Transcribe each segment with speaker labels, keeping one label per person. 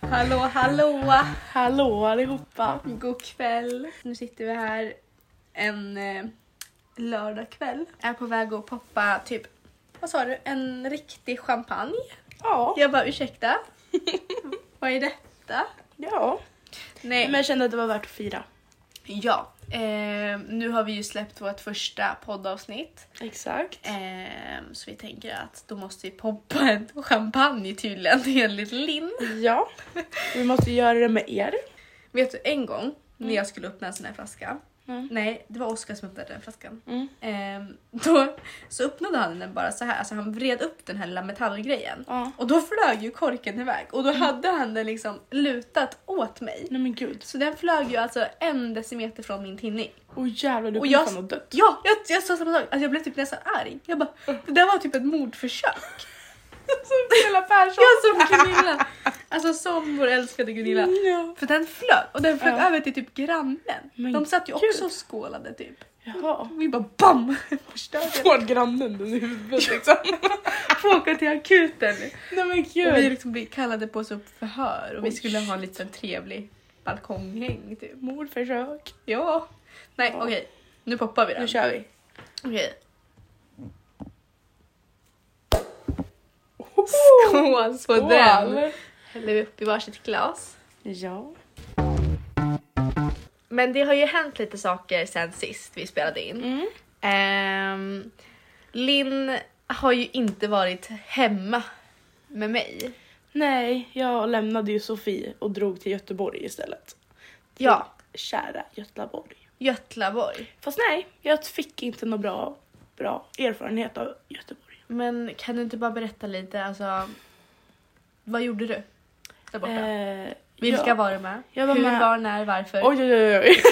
Speaker 1: Hallå, hallå!
Speaker 2: Hallå allihopa!
Speaker 1: God kväll. Nu sitter vi här en eh, lördagkväll. Är på väg att poppa typ, vad sa du, en riktig champagne.
Speaker 2: Ja,
Speaker 1: Jag bara ursäkta? vad är detta?
Speaker 2: ja.
Speaker 1: Nej,
Speaker 2: Men jag kände att det var värt att fira.
Speaker 1: ja. Eh, nu har vi ju släppt vårt första poddavsnitt.
Speaker 2: Exakt.
Speaker 1: Eh, så vi tänker att då måste vi poppa en champagne tydligen enligt Linn.
Speaker 2: Ja, vi måste göra det med er.
Speaker 1: Vet du en gång när jag skulle öppna en sån här flaska.
Speaker 2: Mm.
Speaker 1: Nej, det var Oskar som öppnade den flaskan.
Speaker 2: Mm.
Speaker 1: Ehm, då så öppnade han den bara så här. Alltså han vred upp den här lilla metallgrejen.
Speaker 2: Ja.
Speaker 1: Och då flög ju korken iväg och då
Speaker 2: Mm.
Speaker 1: hade han den liksom lutat åt mig.
Speaker 2: Nej men gud.
Speaker 1: Så den flög ju alltså en decimeter från min tinning.
Speaker 2: Åh jävlar, du
Speaker 1: Och
Speaker 2: kommer
Speaker 1: jag-
Speaker 2: fan ha dött.
Speaker 1: Ja, jag, jag sa samma sak. Alltså jag blev typ nästan arg. Jag bara,
Speaker 2: Mm.
Speaker 1: det där var typ ett mordförsök.
Speaker 2: Som Pernilla Persson.
Speaker 1: Jag som Gunilla. Alltså som vår älskade Gunilla.
Speaker 2: Ja.
Speaker 1: För den flög och den flög
Speaker 2: Ja.
Speaker 1: över till typ grannen.
Speaker 2: Men
Speaker 1: De satt ju
Speaker 2: gud.
Speaker 1: också och skålade typ.
Speaker 2: Jaha.
Speaker 1: Och vi bara BAM! Förstörde det.
Speaker 2: Får grannen den i huvudet liksom.
Speaker 1: Får åka till akuten.
Speaker 2: Nej men
Speaker 1: Och vi
Speaker 2: gud.
Speaker 1: liksom blev kallade på oss upp förhör och vi
Speaker 2: Oj.
Speaker 1: skulle ha en liten trevlig balkonghäng typ.
Speaker 2: Mordförsök.
Speaker 1: Ja. Nej
Speaker 2: Ja.
Speaker 1: okej, nu poppar vi den.
Speaker 2: Nu kör vi.
Speaker 1: Okej.
Speaker 2: Skål
Speaker 1: Skål på den! Häller vi upp i varsitt glas.
Speaker 2: Ja.
Speaker 1: Men det har ju hänt lite saker sen sist vi spelade in.
Speaker 2: Mm.
Speaker 1: Ehm, Linn har ju inte varit hemma med mig.
Speaker 2: Nej, jag lämnade ju Sofie och drog till Göteborg istället. Till
Speaker 1: Ja.
Speaker 2: Kära Göteborg.
Speaker 1: Götlaborg.
Speaker 2: Fast nej, jag fick inte någon bra, bra erfarenhet av Göteborg.
Speaker 1: Men kan du inte bara berätta lite, alltså. Vad gjorde du? Där borta.
Speaker 2: Eh,
Speaker 1: Vilka
Speaker 2: ja.
Speaker 1: var du med?
Speaker 2: Jag var
Speaker 1: Hur,
Speaker 2: med-
Speaker 1: var, när, varför?
Speaker 2: Oj, oj, oj. oj.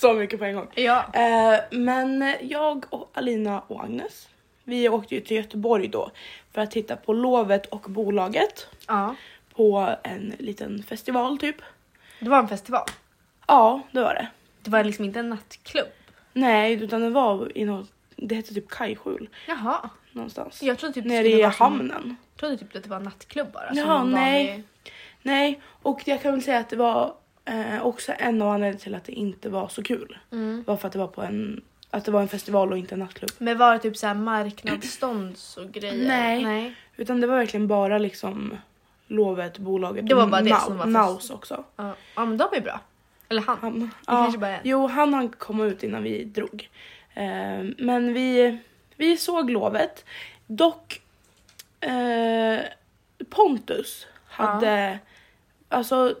Speaker 2: Så mycket på en gång.
Speaker 1: Ja.
Speaker 2: Eh, men jag och Alina och Agnes, vi åkte ju till Göteborg då för att titta på Lovet och Bolaget
Speaker 1: ja.
Speaker 2: på en liten festival typ.
Speaker 1: Det var en festival.
Speaker 2: Ja, det var det.
Speaker 1: Det var liksom inte en nattklubb.
Speaker 2: Nej, utan det var i något, det hette typ Kajskjul
Speaker 1: Jaha.
Speaker 2: någonstans.
Speaker 1: Jag trodde typ det
Speaker 2: Nere
Speaker 1: skulle
Speaker 2: i
Speaker 1: vara som-
Speaker 2: hamnen.
Speaker 1: Jag trodde typ att det var en nattklubb bara.
Speaker 2: Jaha,
Speaker 1: som en vanlig-
Speaker 2: nej. Nej, och jag kan väl säga att det var eh, också en av anledningarna till att det inte var så kul.
Speaker 1: Mm.
Speaker 2: Var för att det var på en, att det var en festival och inte en nattklubb.
Speaker 1: Men var det typ såhär marknadsstånds och grejer?
Speaker 2: Nej.
Speaker 1: nej.
Speaker 2: Utan det var verkligen bara liksom Lovet, bolaget
Speaker 1: Det var
Speaker 2: och
Speaker 1: bara det
Speaker 2: Nau-
Speaker 1: som var fest.
Speaker 2: Naus också.
Speaker 1: Ja, ja men de är bra. Eller han.
Speaker 2: Han, det
Speaker 1: kanske bara är en.
Speaker 2: Jo, han hann komma ut innan vi drog. Eh, men vi, vi såg Lovet. Dock eh, Pontus hade, alltså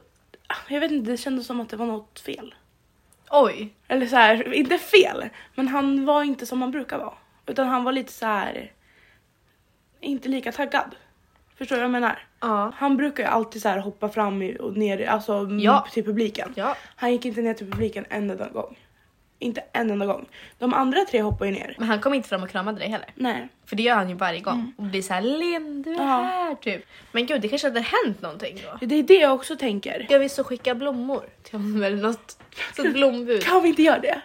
Speaker 2: jag vet inte, det kändes som att det var något fel.
Speaker 1: Oj.
Speaker 2: Eller så här, inte fel, men han var inte som han brukar vara. Utan han var lite så här inte lika taggad. Förstår du vad jag menar?
Speaker 1: Ja.
Speaker 2: Han brukar ju alltid så här hoppa fram i- och ner i- alltså, m-
Speaker 1: Ja.
Speaker 2: till publiken.
Speaker 1: Ja.
Speaker 2: Han gick inte ner till publiken en enda gång. Inte en enda gång. De andra tre hoppar ju ner.
Speaker 1: Men han kom inte fram och kramade dig heller.
Speaker 2: Nej.
Speaker 1: För det gör han ju varje gång. Och blir såhär Linn du är
Speaker 2: Mm. Ja.
Speaker 1: här typ. Men gud det kanske hade hänt någonting då.
Speaker 2: Det är det jag också tänker.
Speaker 1: Jag vill så skicka blommor till honom eller något. Så ett blombud.
Speaker 2: Kan vi inte göra det?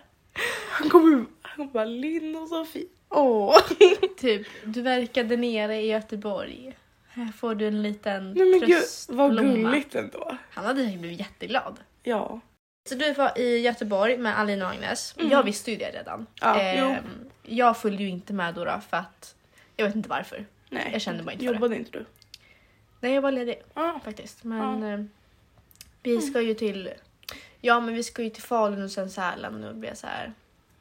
Speaker 2: Han kommer han kommer bara Linn och Sofie. Åh.
Speaker 1: Typ du verkade nere i Göteborg. Här får du en liten
Speaker 2: Nej men gud vad
Speaker 1: tröstblomma.
Speaker 2: gulligt ändå.
Speaker 1: Han hade säkert blivit jätteglad.
Speaker 2: Ja.
Speaker 1: Så du var i Göteborg med Alina och Agnes. Jag visste ju det redan.
Speaker 2: Mm.
Speaker 1: Ehm,
Speaker 2: Ja,
Speaker 1: jag följde ju inte med då, då för att jag vet inte varför.
Speaker 2: Nej.
Speaker 1: Jag kände bara inte för det.
Speaker 2: Jobbade inte du?
Speaker 1: Nej jag var ledig
Speaker 2: Ja. Mm.
Speaker 1: faktiskt. Men eh, vi ska ju till Ja men vi ska ju till Falun och sen Sälen och då blir jag så här.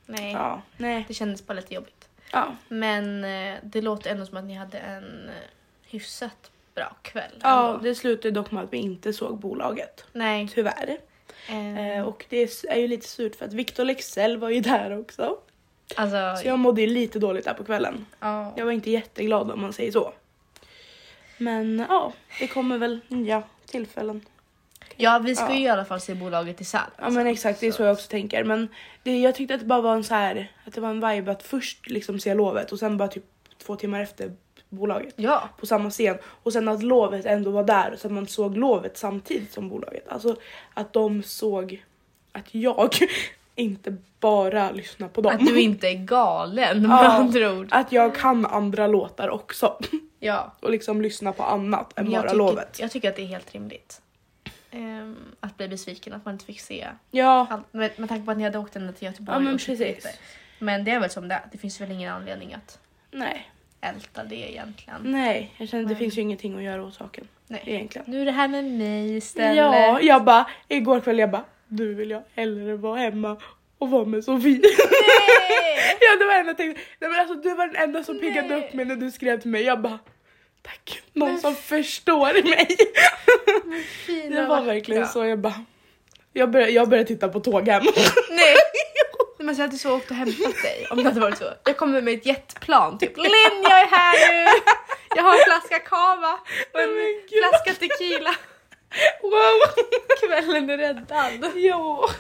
Speaker 1: Nej.
Speaker 2: Ja. Nej.
Speaker 1: Det kändes bara lite jobbigt.
Speaker 2: Ja.
Speaker 1: Men eh, det låter ändå som att ni hade en eh, hyfsat bra kväll.
Speaker 2: ja,
Speaker 1: ändå.
Speaker 2: det slutade dock med att vi inte såg bolaget.
Speaker 1: Nej.
Speaker 2: Tyvärr.
Speaker 1: Eh,
Speaker 2: Eh, och det är ju lite surt för att Victor Lexell var ju där också.
Speaker 1: alltså,
Speaker 2: Så jag mådde ju lite dåligt där på kvällen.
Speaker 1: ja.
Speaker 2: Jag var inte jätteglad om man säger så. Men ja, det kommer väl nya tillfällen.
Speaker 1: ja vi ska
Speaker 2: Ja.
Speaker 1: ju i alla fall se bolaget i Sälen.
Speaker 2: Ja men exakt, det är Alltså, så jag också tänker. Men det, jag tyckte att det bara var en så här, att det var en vibe att först liksom se lovet och sen bara typ två timmar efter bolaget.
Speaker 1: Ja.
Speaker 2: på samma scen och sen att lovet ändå var där så att man såg lovet samtidigt som bolaget. Alltså att de såg att jag inte bara lyssna på dem.
Speaker 1: Att du inte är galen med
Speaker 2: Ja.
Speaker 1: andra ord.
Speaker 2: Att jag kan andra låtar också
Speaker 1: Ja.
Speaker 2: och liksom lyssna på annat än
Speaker 1: Men
Speaker 2: bara
Speaker 1: jag, tycker,
Speaker 2: lovet.
Speaker 1: jag tycker att det är helt rimligt. Ehm, att bli besviken att man inte fick se
Speaker 2: Ja,
Speaker 1: allt. Med, med tanke på att ni hade åkt ända till Göteborg.
Speaker 2: ja men
Speaker 1: och så
Speaker 2: precis.
Speaker 1: vidare. Men det är väl som det är. Det finns väl ingen anledning att
Speaker 2: Nej,
Speaker 1: älta det egentligen.
Speaker 2: nej, jag känner att det
Speaker 1: Nej.
Speaker 2: finns ju ingenting att göra åt saken
Speaker 1: Nej.
Speaker 2: egentligen.
Speaker 1: Nu är det här med mig istället.
Speaker 2: Ja, jag bara igår kväll jag bara nu vill jag hellre vara hemma och vara med Sofie.
Speaker 1: Nej!
Speaker 2: ja, det var det enda jag tänkte. Nej, men alltså, du var den enda som piggade
Speaker 1: Nej.
Speaker 2: upp mig när du skrev till mig. Jag bara tack, någon som förstår mig.
Speaker 1: Fina
Speaker 2: Det var verkligen
Speaker 1: vackra.
Speaker 2: så jag bara jag började, jag började titta på tåg hem.
Speaker 1: Nej! Nej, Men säg att du så åkt och hämtat dig om det hade varit så. Jag kommer med ett jetplan typ. Linn jag är här nu! Jag har en flaska cava och
Speaker 2: Men
Speaker 1: en
Speaker 2: gud.
Speaker 1: flaska tequila.
Speaker 2: Wow!
Speaker 1: Kvällen är räddad.
Speaker 2: Ja.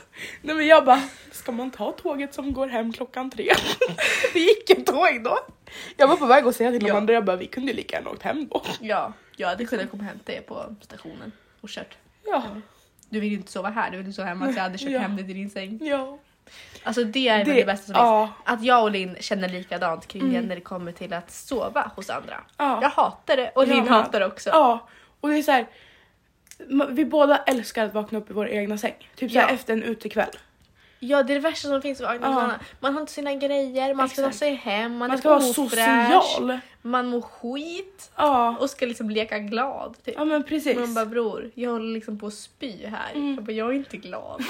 Speaker 2: Nej men jag bara, ska man ta tåget som går hem klockan tre? Det gick ett tåg då. Jag var på väg att säga till de
Speaker 1: Ja.
Speaker 2: andra, jag bara vi kunde ju lika gärna åkt hem då.
Speaker 1: Ja, jag hade kunnat komma och hämta er på stationen och kört.
Speaker 2: Ja.
Speaker 1: Du vill ju inte sova här, du vill ju sova hemma så jag hade kört
Speaker 2: Ja.
Speaker 1: hem dig till din säng.
Speaker 2: ja.
Speaker 1: Alltså det är väl det bästa som finns.
Speaker 2: ja. Mm.
Speaker 1: Att jag och Linn känner likadant kring det när det kommer till att sova hos andra.
Speaker 2: Ja.
Speaker 1: Jag hatar det och Linn
Speaker 2: Ja.
Speaker 1: hatar det också.
Speaker 2: Ja. Och det är så här, ma- vi båda älskar att vakna upp i vår egna säng. Typ så här
Speaker 1: Ja.
Speaker 2: efter en utekväll.
Speaker 1: Ja det är det värsta som finns. Med
Speaker 2: Ja.
Speaker 1: ja. Man har inte sina grejer, man ska ta
Speaker 2: Exakt.
Speaker 1: sig hem, man,
Speaker 2: Man
Speaker 1: är
Speaker 2: ska vara
Speaker 1: ofräsch,
Speaker 2: social.
Speaker 1: Man mår skit
Speaker 2: Ja.
Speaker 1: och ska liksom leka glad. Typ.
Speaker 2: Ja men precis.
Speaker 1: Man bara bror, jag håller liksom på att spy här.
Speaker 2: Mm.
Speaker 1: Jag, bara, jag är inte glad.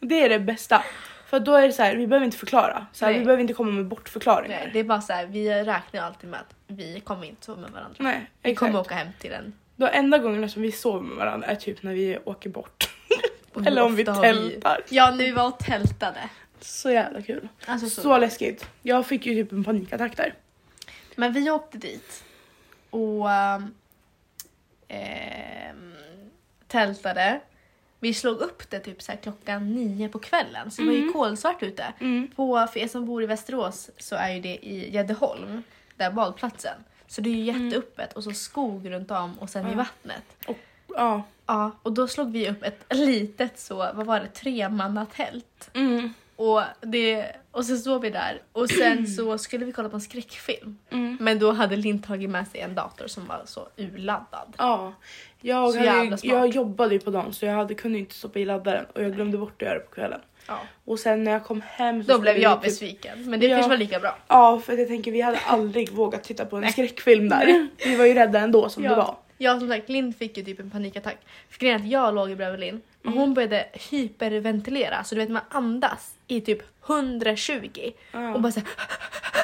Speaker 2: Det är det bästa. För då är det så här, vi behöver inte förklara. Så här,
Speaker 1: Nej.
Speaker 2: vi behöver inte komma med bortförklaringar.
Speaker 1: Nej, det är bara så här, vi räknar alltid med att vi kommer inte sova med varandra.
Speaker 2: Nej,
Speaker 1: Vi
Speaker 2: exakt.
Speaker 1: kommer åka hem till den.
Speaker 2: De enda gångerna som vi sover med varandra är typ när vi åker bort.
Speaker 1: Och hur
Speaker 2: Eller om vi
Speaker 1: ofta har vi-
Speaker 2: tältar.
Speaker 1: Ja, när vi var och tältade.
Speaker 2: Så jävla kul.
Speaker 1: Alltså,
Speaker 2: Så,
Speaker 1: så.
Speaker 2: läskigt. Jag fick ju typ en panikattack där.
Speaker 1: Men vi åkte dit och ehm, tältade. Vi slog upp det typ så här klockan nio på kvällen så det var ju
Speaker 2: Mm.
Speaker 1: kolsvart ute.
Speaker 2: Mm.
Speaker 1: På, för er som bor i Västerås så är ju det i Gäddeholm, där badplatsen. Så det är ju jätteöppet och så skog runt om och sen i
Speaker 2: Mm. Ja.
Speaker 1: vattnet.
Speaker 2: Ja.
Speaker 1: Ja, och då slog vi upp ett litet så, vad var det, tremannatält.
Speaker 2: Mm.
Speaker 1: Och, det, och så sov vi där och sen så skulle vi kolla på en skräckfilm.
Speaker 2: Mm.
Speaker 1: Men då hade Linn tagit med sig en dator som var så urladdad.
Speaker 2: Ja. Jag,
Speaker 1: Så
Speaker 2: hade,
Speaker 1: jävla
Speaker 2: ju-
Speaker 1: smart.
Speaker 2: jag jobbade ju på dagen så jag hade, kunde inte stoppa i laddaren och jag glömde bort att göra det på kvällen.
Speaker 1: Ja.
Speaker 2: Och sen när jag kom hem så
Speaker 1: Då
Speaker 2: skulle
Speaker 1: blev
Speaker 2: vi
Speaker 1: jag
Speaker 2: typ-
Speaker 1: besviken, men det
Speaker 2: Ja.
Speaker 1: kanske var lika bra.
Speaker 2: Ja för att jag tänker vi hade aldrig vågat titta på en
Speaker 1: Nej.
Speaker 2: skräckfilm där. Vi var ju rädda ändå som
Speaker 1: Ja.
Speaker 2: det var.
Speaker 1: Ja, som sagt, Linn fick ju typ en panikattack. För grejen är att jag låg bredvid Linn och
Speaker 2: Mm.
Speaker 1: hon började hyperventilera. Så du vet, man andas i typ 120.
Speaker 2: Ja.
Speaker 1: Och bara såhär...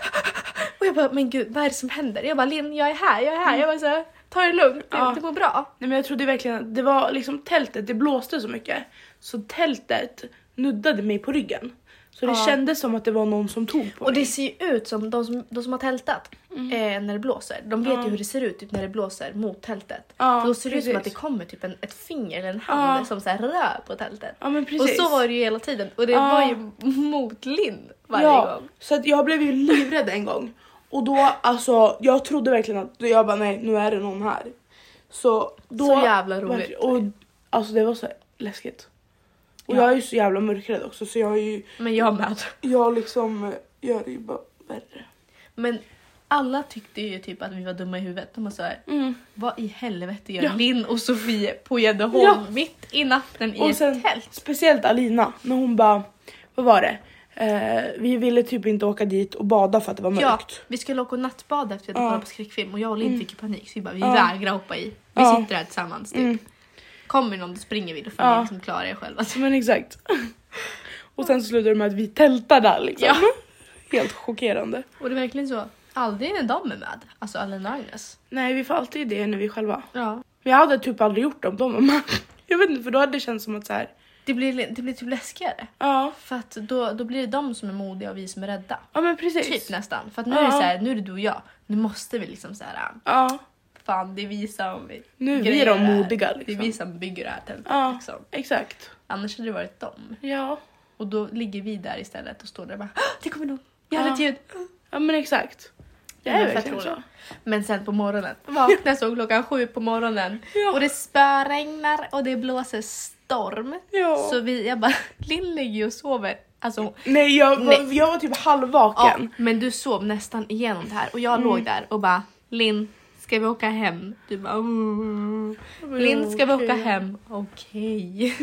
Speaker 1: Och jag bara, men gud, vad är det som händer? Jag bara, Linn, jag är här, jag är här. Jag bara såhär, ta det lugnt, du,
Speaker 2: Mm. Ja.
Speaker 1: det går bra.
Speaker 2: Nej men jag trodde verkligen att det var liksom tältet, det blåste så mycket. Så tältet nuddade mig på ryggen. Så det
Speaker 1: Ja.
Speaker 2: kändes som att det var någon som tog på
Speaker 1: Och
Speaker 2: mig.
Speaker 1: det ser ju ut som de som, de som har tältat
Speaker 2: Mm.
Speaker 1: eh, när det blåser. De vet ju hur det ser ut typ, när det blåser mot tältet.
Speaker 2: Ja,
Speaker 1: För då ser det ut som
Speaker 2: precis.
Speaker 1: att det kommer typ en, ett finger eller en hand
Speaker 2: Ja.
Speaker 1: som så här rör på tältet.
Speaker 2: Ja men precis.
Speaker 1: Och så var det ju hela tiden. Och det
Speaker 2: Ja.
Speaker 1: var ju mot Lind varje
Speaker 2: ja,
Speaker 1: gång.
Speaker 2: Så att jag blev ju livrädd en gång. Och då alltså, jag trodde verkligen att, jag bara nej nu är det någon här. Så då.
Speaker 1: Så jävla roligt.
Speaker 2: Och alltså det var så läskigt. Och
Speaker 1: Ja.
Speaker 2: jag är ju så jävla mörkrädd också så jag är ju,
Speaker 1: Men jag med.
Speaker 2: jag liksom eh, gör det ju bara värre.
Speaker 1: Men alla tyckte ju typ att vi var dumma i huvudet. De var såhär,
Speaker 2: Mm.
Speaker 1: vad i helvete gör
Speaker 2: Ja.
Speaker 1: Linn och Sofie på Gäddeholm
Speaker 2: Ja.
Speaker 1: mitt i natten i
Speaker 2: Och
Speaker 1: ett
Speaker 2: sen-
Speaker 1: tält?
Speaker 2: Speciellt Alina när hon bara, vad var det? Eh, vi ville typ inte åka dit och bada för att det var
Speaker 1: Ja,
Speaker 2: mörkt.
Speaker 1: vi skulle åka och nattbada efter att vi
Speaker 2: Ja. Mm.
Speaker 1: kollat på skräckfilm och jag och Linn fick ju panik så vi bara vi
Speaker 2: Ja.
Speaker 1: vägrar hoppa i. Vi
Speaker 2: Ja.
Speaker 1: sitter här tillsammans typ.
Speaker 2: Mm.
Speaker 1: Kommer någon då springer vi då får
Speaker 2: Ja.
Speaker 1: ni liksom klara er själva.
Speaker 2: Men exakt. Och sen slutar det med att vi tältar där liksom.
Speaker 1: Ja.
Speaker 2: Helt chockerande.
Speaker 1: Och det är verkligen så, aldrig när de är med, alltså Alina och Agnes.
Speaker 2: Nej vi får alltid det när vi är själva.
Speaker 1: Ja.
Speaker 2: Men jag hade typ aldrig gjort det om de var med. Jag vet inte för då hade det känts som att så här.
Speaker 1: Det blir, det blir typ läskigare.
Speaker 2: ja.
Speaker 1: För att då, då blir det de som är modiga och vi som är rädda.
Speaker 2: Ja men precis.
Speaker 1: Typ nästan. För att nu är det
Speaker 2: Ja.
Speaker 1: så här, nu är det du och jag. Nu måste vi liksom så här,
Speaker 2: Ja.
Speaker 1: fan det är vi som
Speaker 2: Nu är vi
Speaker 1: grejer
Speaker 2: de
Speaker 1: det här.
Speaker 2: modiga
Speaker 1: Det är
Speaker 2: liksom.
Speaker 1: vi som bygger det här tältet
Speaker 2: Ja.
Speaker 1: liksom.
Speaker 2: Exakt.
Speaker 1: Annars hade det varit dem.
Speaker 2: Ja.
Speaker 1: Och då ligger vi där istället och står där och bara "Ah, det kommer någon, jag
Speaker 2: Ja.
Speaker 1: hade ett ljud.
Speaker 2: Ja men exakt. Det
Speaker 1: Ja, men
Speaker 2: är
Speaker 1: fett
Speaker 2: verkligen så.
Speaker 1: roligt. Men sen på morgonen, vaknar så klockan sju på morgonen
Speaker 2: Ja.
Speaker 1: och det spöregnar och det blåser storm.
Speaker 2: Ja.
Speaker 1: Så vi, jag bara, Linn ligger ju och sover. Alltså,
Speaker 2: Nej, jag,
Speaker 1: Nej.
Speaker 2: Var, jag var typ
Speaker 1: ja,
Speaker 2: halvvaken.
Speaker 1: men du sov nästan igenom det här och
Speaker 2: Mm.
Speaker 1: jag låg där och bara, Linn ska vi åka hem? Du bara, "Åh." Mm. Linn ska vi
Speaker 2: Okej.
Speaker 1: åka hem? Okej.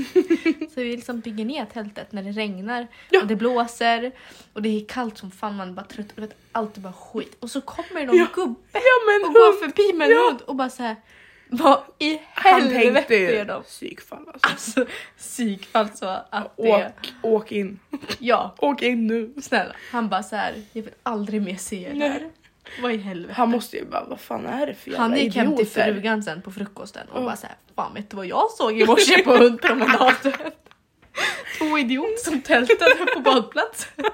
Speaker 1: så vi liksom bygger ner tältet när det regnar
Speaker 2: Ja.
Speaker 1: och det blåser och det är kallt som fan, man är bara trött och vet, allt är bara skit. Och så kommer någon
Speaker 2: Ja.
Speaker 1: gubbe
Speaker 2: Ja, men
Speaker 1: och går
Speaker 2: hon,
Speaker 1: förbi med en
Speaker 2: Ja.
Speaker 1: hund och bara såhär, vad i
Speaker 2: han tänkte
Speaker 1: helvete gör
Speaker 2: ju
Speaker 1: de?
Speaker 2: psykfall alltså.
Speaker 1: Alltså psykfall så att det...
Speaker 2: Åk, åk in.
Speaker 1: Ja,
Speaker 2: Åk in nu.
Speaker 1: snälla. Han bara så här, jag vill aldrig mer se er
Speaker 2: Nej.
Speaker 1: där. Vad i helvete.
Speaker 2: Han måste ju bara, vad fan är det för jävla
Speaker 1: Han gick hem till
Speaker 2: idioter?
Speaker 1: frugan sen på frukosten och
Speaker 2: Ja.
Speaker 1: bara så här, fan vet du vad jag såg i morse på hundpromenaden? Två idioter som tältade på badplatsen.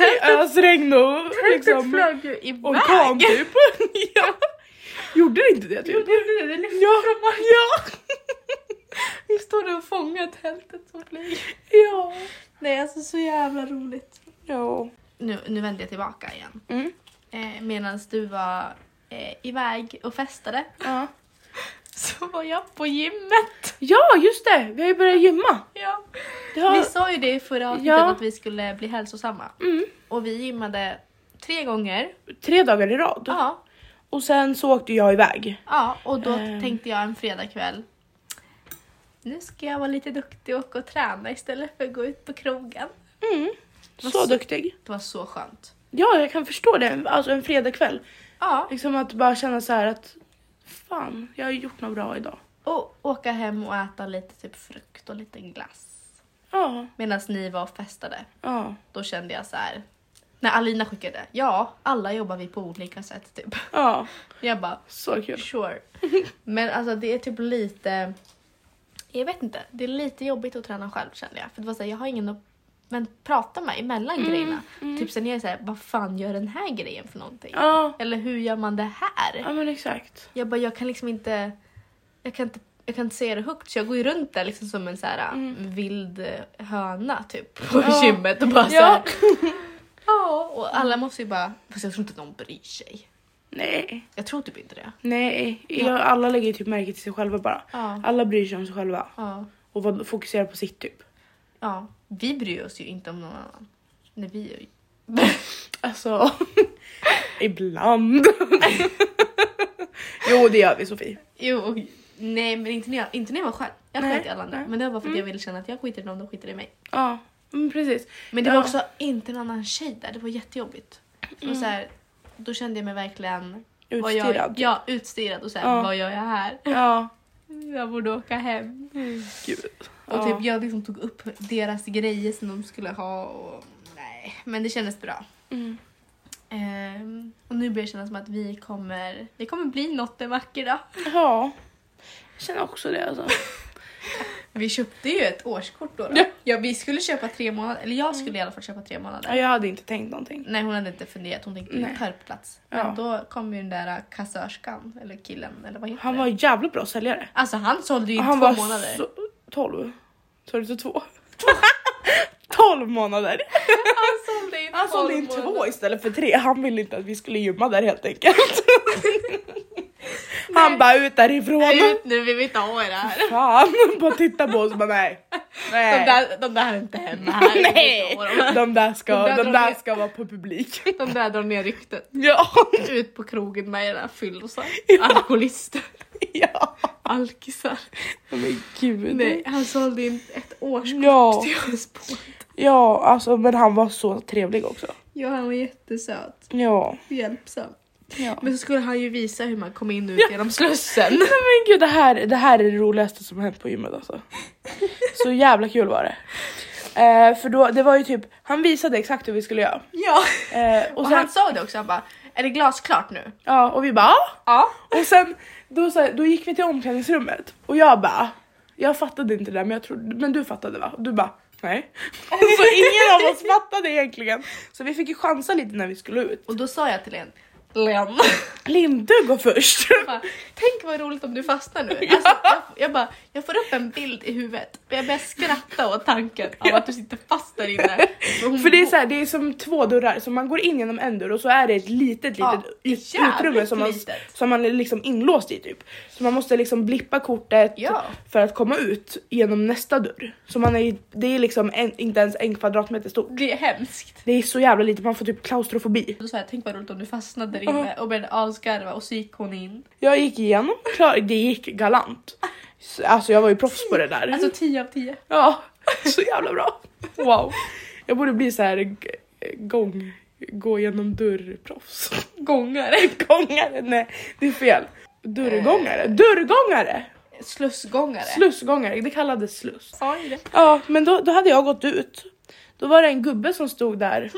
Speaker 2: I ösregn och
Speaker 1: Liksom,
Speaker 2: liksom
Speaker 1: flög ju
Speaker 2: orkan
Speaker 1: iväg.
Speaker 2: typ. ja. Gjorde det inte det
Speaker 1: Jo,
Speaker 2: typ?
Speaker 1: det gjorde det. Det lyfte
Speaker 2: Ja,
Speaker 1: från marken.
Speaker 2: ja,
Speaker 1: Vi stod och fångade tältet som flyger.
Speaker 2: ja.
Speaker 1: Nej, alltså så jävla roligt.
Speaker 2: ja.
Speaker 1: Nu, nu vänder jag tillbaka igen.
Speaker 2: Mm.
Speaker 1: Eh, Medan du var eh, iväg och festade
Speaker 2: Ja.
Speaker 1: så var jag på gymmet.
Speaker 2: ja, just det. Vi har ju börjat gymma.
Speaker 1: Ja.
Speaker 2: Det har...
Speaker 1: Vi sa ju det i förra avsnittet
Speaker 2: Ja.
Speaker 1: att vi skulle bli hälsosamma.
Speaker 2: mm.
Speaker 1: Och vi gymmade tre gånger.
Speaker 2: Tre dagar i rad.
Speaker 1: Ja.
Speaker 2: Och sen så åkte jag iväg.
Speaker 1: ja. Och då
Speaker 2: Ehm.
Speaker 1: tänkte jag en fredagkväll. Nu ska jag vara lite duktig och åka och träna istället för att gå ut på krogen.
Speaker 2: Mm. Så,
Speaker 1: Vad så-
Speaker 2: duktig.
Speaker 1: Det var så skönt.
Speaker 2: Ja, jag kan förstå det. Alltså en fredagkväll.
Speaker 1: Ja.
Speaker 2: Liksom att bara känna så här att fan, jag har ju gjort något bra idag.
Speaker 1: Och åka hem och äta lite typ frukt och lite glass.
Speaker 2: Ja,
Speaker 1: Medan ni var och festade.
Speaker 2: ja,
Speaker 1: Då kände jag så här. När Alina skickade, ja, alla jobbar vi på olika sätt typ.
Speaker 2: ja.
Speaker 1: Jag bara,
Speaker 2: Så kul.
Speaker 1: sure. Men alltså det är typ lite, jag vet inte, det är lite jobbigt att träna själv kände jag. För det var så här, jag har ingen att men, prata med emellan
Speaker 2: Mm.
Speaker 1: grejerna. Typ sen är jag så här, vad fan gör den här grejen för någonting?
Speaker 2: Ja,
Speaker 1: Eller hur gör man det här?
Speaker 2: ja men exakt.
Speaker 1: Jag bara, jag kan liksom inte, jag kan inte jag kan inte säga det högt så jag går ju runt där liksom som en så här vild eh, höna typ på
Speaker 2: Mm. Ja.
Speaker 1: gymmet och bara så
Speaker 2: Ja.
Speaker 1: här, Ja, och alla måste ju bara... Fast jag tror inte någon bryr sig.
Speaker 2: Nej.
Speaker 1: Jag tror typ inte det.
Speaker 2: Nej, jag, alla lägger typ märke till sig själva bara.
Speaker 1: Ja.
Speaker 2: Alla bryr sig om sig själva
Speaker 1: Ja.
Speaker 2: och vad- fokuserar på sitt typ.
Speaker 1: ja. Vi bryr oss ju inte om någon annan. Nej, vi är ju...
Speaker 2: Alltså, ibland. jo, det gör vi Sofie.
Speaker 1: Jo, och... Nej, men inte när jag, inte när jag var själv. Jag
Speaker 2: Nej,
Speaker 1: sket i alla andra.
Speaker 2: nej.
Speaker 1: Men det var bara för att jag ville känna att jag skiter i dem, de skiter i mig.
Speaker 2: Ja, men precis.
Speaker 1: Men det var
Speaker 2: Ja.
Speaker 1: också inte en annan tjej där. Det var jättejobbigt. Och så här, då kände jag mig verkligen... vad gör-
Speaker 2: Utstirrad.
Speaker 1: Ja, utstirrad och så här,
Speaker 2: Ja.
Speaker 1: vad gör jag här?
Speaker 2: Ja.
Speaker 1: Jag borde åka hem.
Speaker 2: Gud.
Speaker 1: Mm. Och
Speaker 2: ja.
Speaker 1: typ jag liksom tog upp deras grejer som de skulle ha och nej, men det kändes bra.
Speaker 2: Mm.
Speaker 1: Ehm, och nu börjar det kännas som att vi kommer, det kommer bli något en vacker dag.
Speaker 2: Ja. Jag känner också det alltså.
Speaker 1: Vi köpte ju ett årskort då. då.
Speaker 2: Ja.
Speaker 1: Ja, vi skulle köpa tre månader, eller jag skulle i alla fall köpa tre månader.
Speaker 2: Ja, Jag hade inte tänkt någonting.
Speaker 1: Nej hon hade inte funderat, hon tänkte
Speaker 2: Nej.
Speaker 1: ta upp plats. Men
Speaker 2: Ja.
Speaker 1: då kom ju den där äh, kassörskan, eller killen, eller vad heter
Speaker 2: Han
Speaker 1: det?
Speaker 2: var en jävligt bra säljare.
Speaker 1: Alltså han sålde ju i
Speaker 2: han
Speaker 1: två
Speaker 2: var
Speaker 1: månader.
Speaker 2: så... 12. Sa du inte två? 12 månader!
Speaker 1: Han sålde i
Speaker 2: Han sålde in
Speaker 1: tolv
Speaker 2: två
Speaker 1: månader.
Speaker 2: istället för tre. Han ville inte att vi skulle gymma där helt enkelt.
Speaker 1: Nej.
Speaker 2: Han bara ut därifrån.
Speaker 1: Ut nu, vi vill inte ha er här.
Speaker 2: Fan, bara titta på oss och bara nej.
Speaker 1: De
Speaker 2: Nej.
Speaker 1: där, de där är inte hemma här.
Speaker 2: Nej. De där ska,
Speaker 1: De där
Speaker 2: de där
Speaker 1: drar ner.
Speaker 2: ska vara på publik.
Speaker 1: De där drar ner ryktet.
Speaker 2: Ja,
Speaker 1: Ut på krogen med era fyllosar.
Speaker 2: Ja.
Speaker 1: Alkoholister.
Speaker 2: ja.
Speaker 1: Alkisar.
Speaker 2: Oh, men gud.
Speaker 1: Nej, han sålde in ett årskort
Speaker 2: Ja.
Speaker 1: till oss båda.
Speaker 2: Ja, alltså men han var så trevlig också.
Speaker 1: Ja, han var jättesöt
Speaker 2: Ja.
Speaker 1: och hjälpsam.
Speaker 2: ja.
Speaker 1: Men så skulle han ju visa hur man kom in och ut genom Slussen.
Speaker 2: Nej men gud, det här, det här är det roligaste som hänt på gymmet alltså. Så jävla kul var det. Eh, för då, det var ju typ, han visade exakt hur vi skulle göra.
Speaker 1: Ja.
Speaker 2: Eh,
Speaker 1: Och,
Speaker 2: och sen,
Speaker 1: han sa det också, han bara är det glasklart nu?
Speaker 2: ja, och vi bara "Ja."
Speaker 1: Ja.
Speaker 2: Och sen då, så här, då gick vi till omklädningsrummet och jag bara, jag fattade inte det där men, jag trodde, men du fattade va? Och du bara, nej. Så ingen av oss fattade egentligen. Så vi fick ju chansa lite när vi skulle ut.
Speaker 1: Och då sa jag till en Len.
Speaker 2: Lindu går först.
Speaker 1: Jag bara, Tänk vad roligt om du fastnar nu. Alltså, jag, jag, bara, jag får upp en bild i huvudet och jag börjar skratta åt tanken av att du sitter fast där inne. hon-
Speaker 2: För det är, så här, det är som två dörrar, så man går in genom en dörr och så är det ett litet,
Speaker 1: Ja,
Speaker 2: litet ut-
Speaker 1: jävligt
Speaker 2: utrymme som man,
Speaker 1: litet.
Speaker 2: som man är liksom inlåst i typ. Så man måste liksom blippa kortet
Speaker 1: Ja.
Speaker 2: för att komma ut genom nästa dörr. Så man är, ju- det är liksom en, inte ens en kvadratmeter stort.
Speaker 1: Det är hemskt.
Speaker 2: Det är så jävla litet, man får typ klaustrofobi.
Speaker 1: Då sa jag tänk vad roligt om du fastnade där inne och började asgarva och så gick hon in.
Speaker 2: Jag gick igenom, klar, det gick galant. Så- Alltså jag var ju proffs på det där.
Speaker 1: Alltså 10 av 10.
Speaker 2: Ja, så jävla bra. Wow. Jag borde bli så här g- gång, gå genom dörrproffs.
Speaker 1: Gångare.
Speaker 2: Gångare, nej det är fel. Dörrgångare, Eh. dörrgångare!
Speaker 1: Slussgångare.
Speaker 2: Slussgångare, det kallades sluss.
Speaker 1: Sa jag det?
Speaker 2: Ja, men då, då hade jag gått ut. Då var det en gubbe som stod där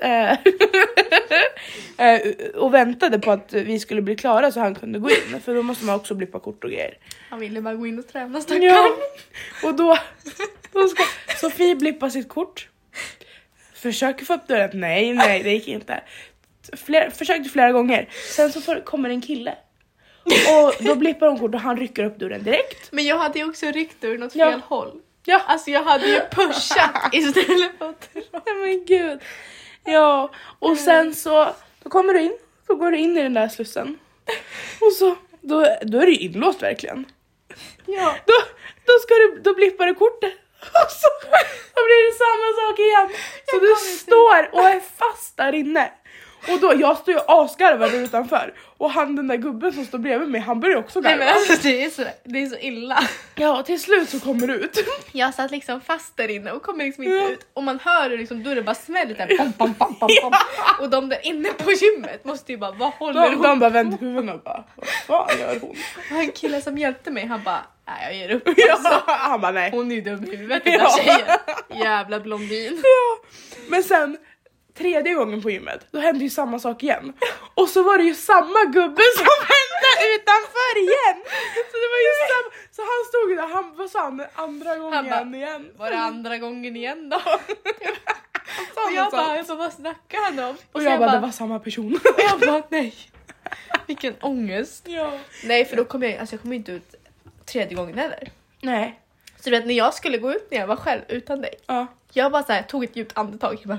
Speaker 2: eh, eh, och väntade på att vi skulle bli klara så han kunde gå in. För då måste man också blippa kort och grejer.
Speaker 1: Han ville bara gå in och träna stackarn.
Speaker 2: Ja. Och då, då ska Sofie blippa sitt kort. Försöker få upp dörren. Nej, nej, det gick inte. Flera, försökte flera gånger. Sen så får, kommer en kille. Och då blippar hon kort och han rycker upp dörren direkt.
Speaker 1: Men jag hade ju också ryckt ur något
Speaker 2: Ja.
Speaker 1: fel håll.
Speaker 2: Ja.
Speaker 1: Alltså jag hade ju pushat istället för att...
Speaker 2: Nej men gud. Ja, och sen så då kommer du in. Så går du in i den där slussen. Och så, då, då är du inlåst verkligen.
Speaker 1: Ja.
Speaker 2: Då, då, ska du, då blippar du kortet. Och
Speaker 1: Alltså.
Speaker 2: så då blir det samma sak igen. Så du står och är fast där inne. Och då, jag står ju asgarvad där utanför. Och han den där gubben som står bredvid mig, han börjar också
Speaker 1: Nej men
Speaker 2: garva.
Speaker 1: alltså det är, så, det är så illa.
Speaker 2: Ja, till slut så kommer du ut.
Speaker 1: Jag satt liksom fast där inne och kommer liksom inte
Speaker 2: Ja.
Speaker 1: ut. Och man hör hur liksom dörren bara smäller där. Bom, bom, bom, bom, bom. Och de där inne på gymmet måste ju bara, vad håller
Speaker 2: De,
Speaker 1: hon
Speaker 2: de bara vänder huvudena och bara, vad fan gör hon?
Speaker 1: på? Och en kille som hjälpte mig han bara, nej jag ger upp.
Speaker 2: Ja, han bara nej.
Speaker 1: Hon är ju dum i huvudet den där
Speaker 2: Ja.
Speaker 1: tjejen. Jävla blondin.
Speaker 2: Ja. Men sen tredje gången på gymmet, då hände ju samma sak igen. Och så var det ju samma gubbe som vände utanför igen! Så det var ju samma, så han stod ju där, han, vad sa han, andra gången
Speaker 1: bara,
Speaker 2: igen?
Speaker 1: Var det andra gången igen då?
Speaker 2: Sa
Speaker 1: Och
Speaker 2: något
Speaker 1: jag
Speaker 2: sånt.
Speaker 1: bara, jag bara vad snackar han om?
Speaker 2: och
Speaker 1: så
Speaker 2: jag bara, det var samma person.
Speaker 1: och jag bara nej. Vilken ångest.
Speaker 2: ja.
Speaker 1: Nej för då kom jag, alltså jag kom inte ut tredje gången heller.
Speaker 2: Nej.
Speaker 1: Så du vet när jag skulle gå ut när jag var själv utan dig.
Speaker 2: Ja.
Speaker 1: Jag bara så här, tog ett djupt andetag. Jag bara...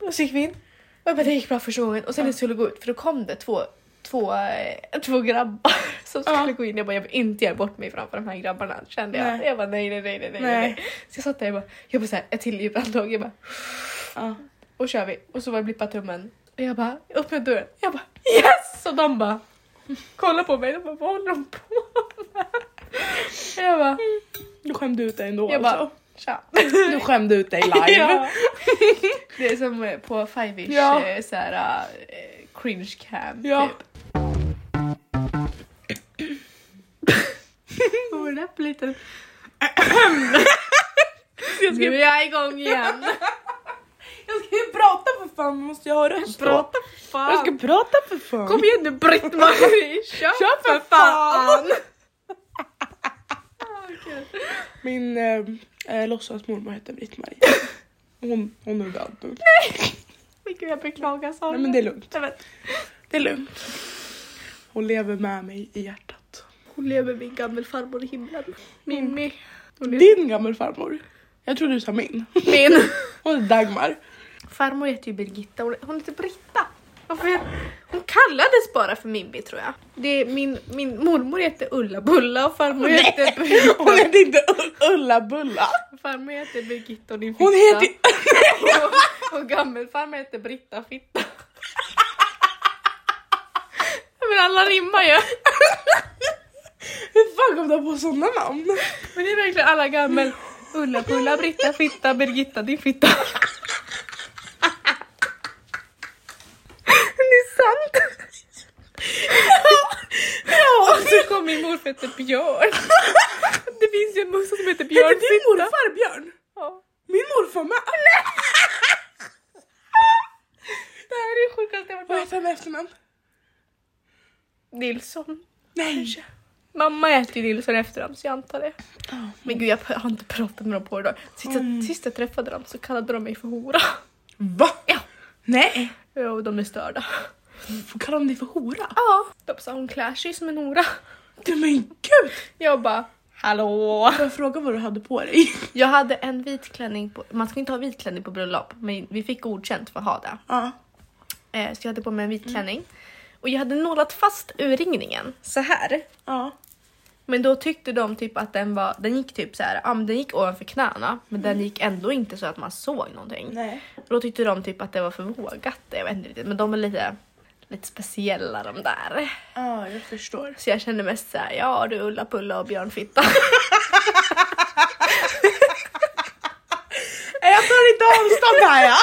Speaker 1: Och så gick vi in. Och jag bara, det gick bra första gången. Och sen när jag skulle gå ut, för då kom det två, två, eh, två grabbar som skulle
Speaker 2: Ja.
Speaker 1: gå in. Jag bara, jag vill inte göra bort mig framför de här grabbarna. Kände jag.
Speaker 2: Nej.
Speaker 1: Jag bara, nej, nej, nej, nej, nej,
Speaker 2: Nej.
Speaker 1: nej. Så jag satt där och bara, jag bara så här, ett till djupt andetag. Jag bara,
Speaker 2: ja.
Speaker 1: och kör vi. Och så var det blippa tummen. Och jag bara, upp med dörren. Jag bara, yes! Och de bara, kolla på mig. De bara, vad håller de på med? Jag bara,
Speaker 2: Du skämde ut dig ändå
Speaker 1: jag bara, oh,
Speaker 2: alltså.
Speaker 1: tja.
Speaker 2: Du skämde ut dig live.
Speaker 1: Ja. Det är som eh, på Five-ish
Speaker 2: Ja.
Speaker 1: eh, såhär eh, cringe cam
Speaker 2: Ja.
Speaker 1: typ. Vad var det där för liten... Nu är jag igång igen.
Speaker 2: Jag ska ju prata för fan, måste jag ha röst då?
Speaker 1: fan.
Speaker 2: Jag ska prata för fan.
Speaker 1: Kom igen nu Britt-Marie, kör,
Speaker 2: Kör för fan. Min eh, eh, låtsasmormor hette Britt-Marie. Hon, hon är död nu.
Speaker 1: Men gud jag beklagar Sara.
Speaker 2: Nej men det är lugnt.
Speaker 1: Nej, men,
Speaker 2: Det är lugnt. Hon lever med mig i hjärtat.
Speaker 1: Hon lever min gammelfarmor i himlen. Mimmi. Hon lever-
Speaker 2: Din gammelfarmor. Jag tror du sa min.
Speaker 1: Min.
Speaker 2: Hon är Dagmar.
Speaker 1: Farmor heter ju Birgitta, hon, hon heter Britta. Varför heter, hon kallades bara för Mimmi tror jag. Det är min, min mormor heter Ulla Bulla och farmor heter Birgitta.
Speaker 2: Hon heter inte U- Ulla Bulla.
Speaker 1: Farmor heter Birgitta och din fitta.
Speaker 2: Hon heter...
Speaker 1: och, och gammelfarmor heter Britta Fitta. Men alla rimmar ju.
Speaker 2: Hur fan kom du på sådana namn?
Speaker 1: Men det är verkligen alla gammel. Ulla Pulla, Britta Fitta, Birgitta din fitta.
Speaker 2: Det är sant.
Speaker 1: Och så kom min morfar hette Björn. Det finns ju en morsa som heter
Speaker 2: Heter
Speaker 1: Björn.
Speaker 2: din morfar Björn?
Speaker 1: Ja.
Speaker 2: Min morfar med.
Speaker 1: Det här är det sjukaste jag varit med
Speaker 2: Vad
Speaker 1: om.
Speaker 2: heter han med efternamn?
Speaker 1: Nilsson.
Speaker 2: Nej.
Speaker 1: Mamma äter ju Nilsson efter dem så jag antar det. Men gud jag p- har inte pratat med dem på idag. Sist, jag- sist jag träffade dem så kallade de mig för hora.
Speaker 2: Va?
Speaker 1: Ja.
Speaker 2: Nej!
Speaker 3: Jo, de är störda.
Speaker 2: Kallar de dig för hora?
Speaker 3: Ja. De sa hon klär sig som en hora.
Speaker 2: Du men gud!
Speaker 3: Jag bara hallå.
Speaker 2: Får jag fråga vad du hade på dig?
Speaker 1: Jag hade en vit klänning på, man ska inte ha vit klänning på bröllop men vi fick godkänt för att ha det.
Speaker 2: Ja.
Speaker 1: Eh, så jag hade på mig en
Speaker 3: Mm.
Speaker 1: vit klänning. Och jag hade nålat fast urringningen så här.
Speaker 2: Ja.
Speaker 1: Men då tyckte de typ att den var, den gick typ så här, ja men den gick ovanför knäna men
Speaker 3: Mm.
Speaker 1: den gick ändå inte så att man såg någonting.
Speaker 2: Nej.
Speaker 1: Och då tyckte de typ att det var för vågat, jag vet inte riktigt men de är lite, lite speciella de där.
Speaker 2: Ja, jag förstår.
Speaker 1: Så jag kände mest såhär, ja du Ulla Pulla och Björn Fitta.
Speaker 2: Nej, Jag tar inte avstånd här ja.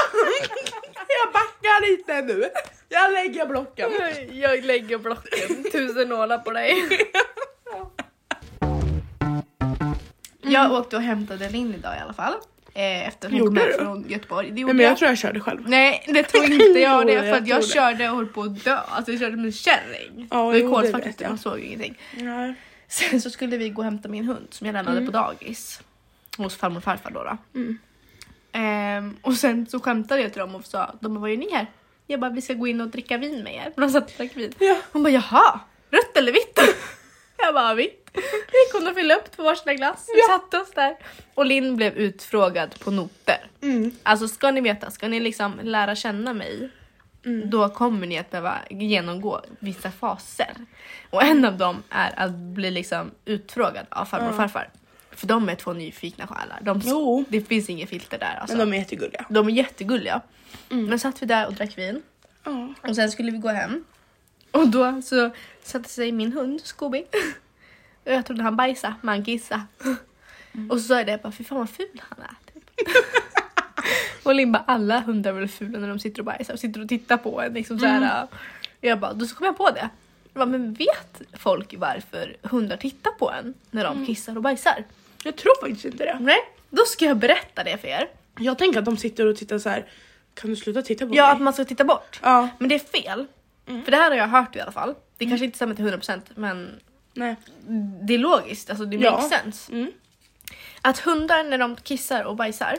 Speaker 2: Jag backar lite nu. Jag lägger blocken.
Speaker 1: jag lägger blocken, tusen nålar på dig. Jag åkte och hämtade Linn idag i alla fall. Eh, Efter att hon kom
Speaker 2: Gjorde
Speaker 1: hem
Speaker 2: du?
Speaker 1: från Göteborg. Det
Speaker 2: Nej,
Speaker 1: gjorde
Speaker 2: men
Speaker 1: jag.
Speaker 2: jag tror jag körde själv.
Speaker 1: Nej det tror inte jag det
Speaker 2: Jo,
Speaker 1: för
Speaker 2: jag
Speaker 1: att jag
Speaker 2: tror det.
Speaker 1: körde och höll på att dö. Alltså jag körde med en kärring.
Speaker 2: Ja,
Speaker 1: det var ju
Speaker 2: jo, det
Speaker 1: kolsvart
Speaker 2: vet
Speaker 1: ute,
Speaker 2: jag.
Speaker 1: man såg ju ingenting.
Speaker 2: Nej.
Speaker 1: Sen så skulle vi gå och hämta min hund som jag lämnade på dagis. Hos farmor och farfar då. då.
Speaker 2: Mm.
Speaker 1: Ehm, och sen så skämtade jag till dem och sa, de bara vad gör ni här? Jag bara vi ska gå in och dricka vin med er. Men de satt och drack vin.
Speaker 2: Ja.
Speaker 1: Hon bara jaha, rött eller vitt? jag bara vitt. Vi kom och fyllde upp två varsina glass. Vi satte oss där. Och Linn blev utfrågad på noter.
Speaker 2: Mm.
Speaker 1: Alltså ska ni veta, ska ni liksom lära känna mig
Speaker 2: Mm.
Speaker 1: då kommer ni att behöva genomgå vissa faser. Och en av dem är att bli liksom utfrågad av farmor och farfar. För de är två nyfikna själar. De,
Speaker 2: Jo.
Speaker 1: det finns inget filter där alltså.
Speaker 2: Men Mm.
Speaker 1: De,
Speaker 2: de är jättegulliga.
Speaker 1: är jättegulliga. Men satt vi där och drack vin
Speaker 2: Ja.
Speaker 1: och sen skulle vi gå hem. Och då så satte sig min hund Scooby. Och jag trodde han bajsade men han kissade. Och så sa jag det jag bara fy fan vad ful han är. Typ. och Linn bara alla hundar är väl fula när de sitter och bajsar och sitter och tittar på en. Liksom, så här, och jag bara då så kom jag på det. Jag bara, men vet folk varför hundar tittar på en när de kissar och bajsar?
Speaker 2: Jag tror faktiskt inte det.
Speaker 1: Nej, då ska jag berätta det för er.
Speaker 2: Jag tänker att de sitter och tittar så här. Kan du sluta titta på
Speaker 1: Ja, att
Speaker 2: mig?
Speaker 1: man ska titta bort.
Speaker 2: Ja.
Speaker 1: Men det är fel. För det här har jag hört i alla fall. Det kanske inte stämmer till 100% men
Speaker 2: Nej.
Speaker 1: det är logiskt, alltså det
Speaker 2: Ja.
Speaker 1: makes sense.
Speaker 2: Mm.
Speaker 1: Att hundar när de kissar och bajsar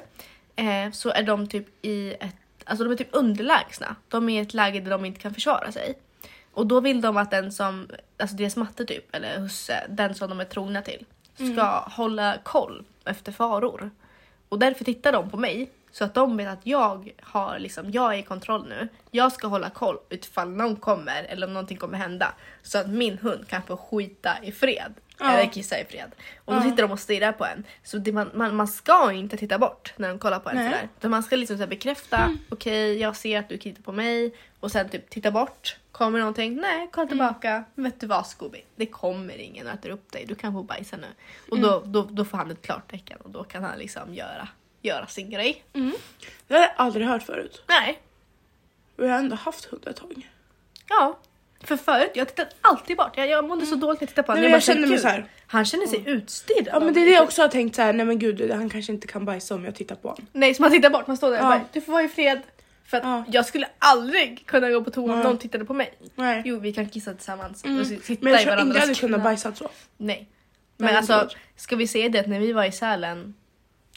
Speaker 1: eh, så är de typ i ett, alltså de är typ underlägsna. De är i ett läge där de inte kan försvara sig. Och då vill de att den som, alltså deras matte typ, eller husse, den som de är trogna till, ska hålla koll efter faror. Och därför tittar de på mig så att de vet att jag har liksom, jag är i kontroll nu. Jag ska hålla koll utifall någon kommer eller om någonting kommer hända så att min hund kan få skita i fred.
Speaker 2: Ja.
Speaker 1: Eller kissa i fred. Och då sitter de och stirrar på en. Så det, man, man, man ska inte titta bort när de kollar på en
Speaker 2: Nej. Mm.
Speaker 1: sådär. Utan man ska liksom så här bekräfta, okej jag ser att du tittar på mig. Och sen typ titta bort. Kommer någonting? Nej,
Speaker 2: Mm.
Speaker 1: kolla tillbaka. Vet du vad Scooby? Det kommer ingen och äter upp dig. Du kan få bajsa nu. Och
Speaker 2: Mm.
Speaker 1: då, då, då får han ett klartecken och då kan han liksom göra, göra sin grej.
Speaker 2: Det har jag aldrig hört förut.
Speaker 1: Nej,
Speaker 2: Och jag har ändå haft hund ett tag.
Speaker 1: ja. För förut, jag tittade alltid bort. Jag, jag mådde så dåligt när jag tittade på honom.
Speaker 2: Mm. Nej, men
Speaker 1: bara,
Speaker 2: jag känner mig
Speaker 1: "Gud,
Speaker 2: så här."
Speaker 1: Han känner sig utstirrad.
Speaker 2: Ja
Speaker 1: av Liksom.
Speaker 2: men det är
Speaker 1: mig."
Speaker 2: det jag också har tänkt så här. nej men gud han kanske inte kan bajsa om jag tittar på honom.
Speaker 1: Nej, så man tittar bort, man står där och
Speaker 2: Ja.
Speaker 1: bara du får vara i fred. För att
Speaker 2: Ja.
Speaker 1: jag skulle aldrig kunna gå på toa om
Speaker 2: Nej.
Speaker 1: någon tittade på mig.
Speaker 2: Nej.
Speaker 1: Jo, vi kan kissa tillsammans
Speaker 2: Mm.
Speaker 1: och si- sitta
Speaker 2: Men jag
Speaker 1: i
Speaker 2: tror inte jag
Speaker 1: varandras
Speaker 2: hade kunnat
Speaker 1: knän.
Speaker 2: bajsa så.
Speaker 1: Nej.
Speaker 2: Nej,
Speaker 1: Men
Speaker 2: det
Speaker 1: alltså,
Speaker 2: går.
Speaker 1: ska vi säga det att när vi var i Sälen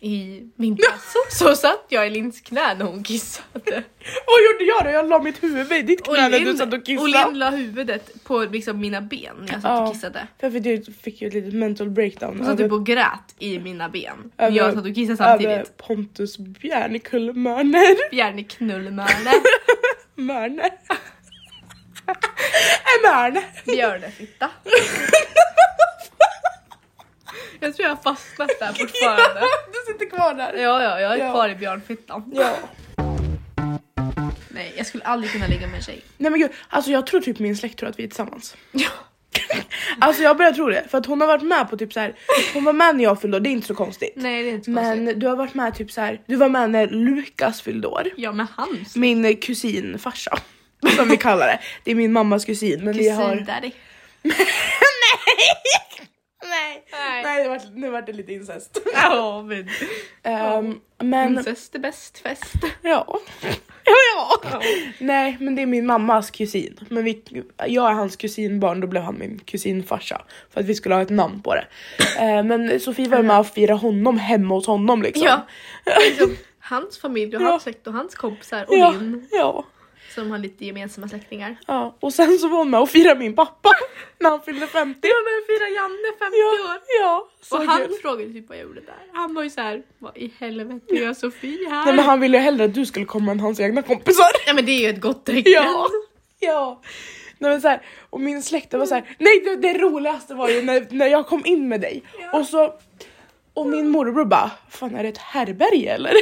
Speaker 1: i vintras så satt jag i Linns knä när hon kissade.
Speaker 2: Vad gjorde jag då? Jag la mitt huvud i ditt knä när du satt och
Speaker 1: och Linn
Speaker 2: kissade.
Speaker 1: la huvudet på liksom mina ben när jag satt
Speaker 2: Ja.
Speaker 1: och kissade.
Speaker 2: För jag fick, fick ju ett litet mental breakdown
Speaker 1: Hon satt
Speaker 2: över,
Speaker 1: typ och grät i mina ben.
Speaker 2: Över-
Speaker 1: jag satt och kissade
Speaker 2: över
Speaker 1: samtidigt.
Speaker 2: Pontus Bjärnekullmörner.
Speaker 1: Gärna knullmörne,
Speaker 2: Mörne. En mörne.
Speaker 1: björnefitta. jag tror jag har fastnat där fortfarande.
Speaker 2: Du sitter kvar där.
Speaker 1: Ja, ja, jag är
Speaker 2: Ja.
Speaker 1: kvar i björnfittan.
Speaker 2: Ja.
Speaker 1: Nej, jag skulle aldrig kunna ligga med en tjej.
Speaker 2: Nej men gud, alltså jag tror typ min släkt tror att vi är tillsammans.
Speaker 1: Ja.
Speaker 2: Alltså jag börjar tro det, för att hon har varit med på typ så här. hon var med när jag fyllde år, det är inte så konstigt.
Speaker 1: Nej, det är inte så konstigt.
Speaker 2: Men du har varit med typ så här. du var med när Lukas fyllde år.
Speaker 1: Ja, men hans.
Speaker 2: Min kusinfarsa, som vi kallar det. Det är min mammas kusin. Men vi har...
Speaker 1: Daddy.
Speaker 2: Nej!
Speaker 1: Nej.
Speaker 2: Nej, det vart, nu vart det lite incest.
Speaker 1: Ja, men
Speaker 2: Ehm, men
Speaker 1: incest är bäst fest.
Speaker 2: ja. Ja, ja. Nej men det är min mammas kusin. Men vi, jag är hans kusinbarn, då blev han min kusinfarsa. För att vi skulle ha ett namn Ehm, på det. Eh, men Sofie var ju med och firade honom hemma hos honom liksom.
Speaker 1: Ja. Liksom, hans familj och
Speaker 2: Ja.
Speaker 1: hans släkt och hans kompisar och
Speaker 2: ja,
Speaker 1: min
Speaker 2: ja,
Speaker 1: som har lite gemensamma släktingar.
Speaker 2: ja. Och sen så var hon med och firade min pappa när han fyllde 50.
Speaker 1: Ja men fira Janne 50
Speaker 2: Ja,
Speaker 1: år!
Speaker 2: ja så
Speaker 1: och han
Speaker 2: kul.
Speaker 1: frågade typ vad jag gjorde där. Han var ju så här, vad i helvete gör Sofie här?
Speaker 2: Nej men han ville ju hellre att du skulle komma än hans egna kompisar.
Speaker 1: Ja, men det är ju ett gott tecken.
Speaker 2: Ja, ja. Nej, men så här, och min släkt var så här, nej det, det roligaste var ju när, när jag kom in med dig och så och min morbror bara, fan är det ett härbärge eller?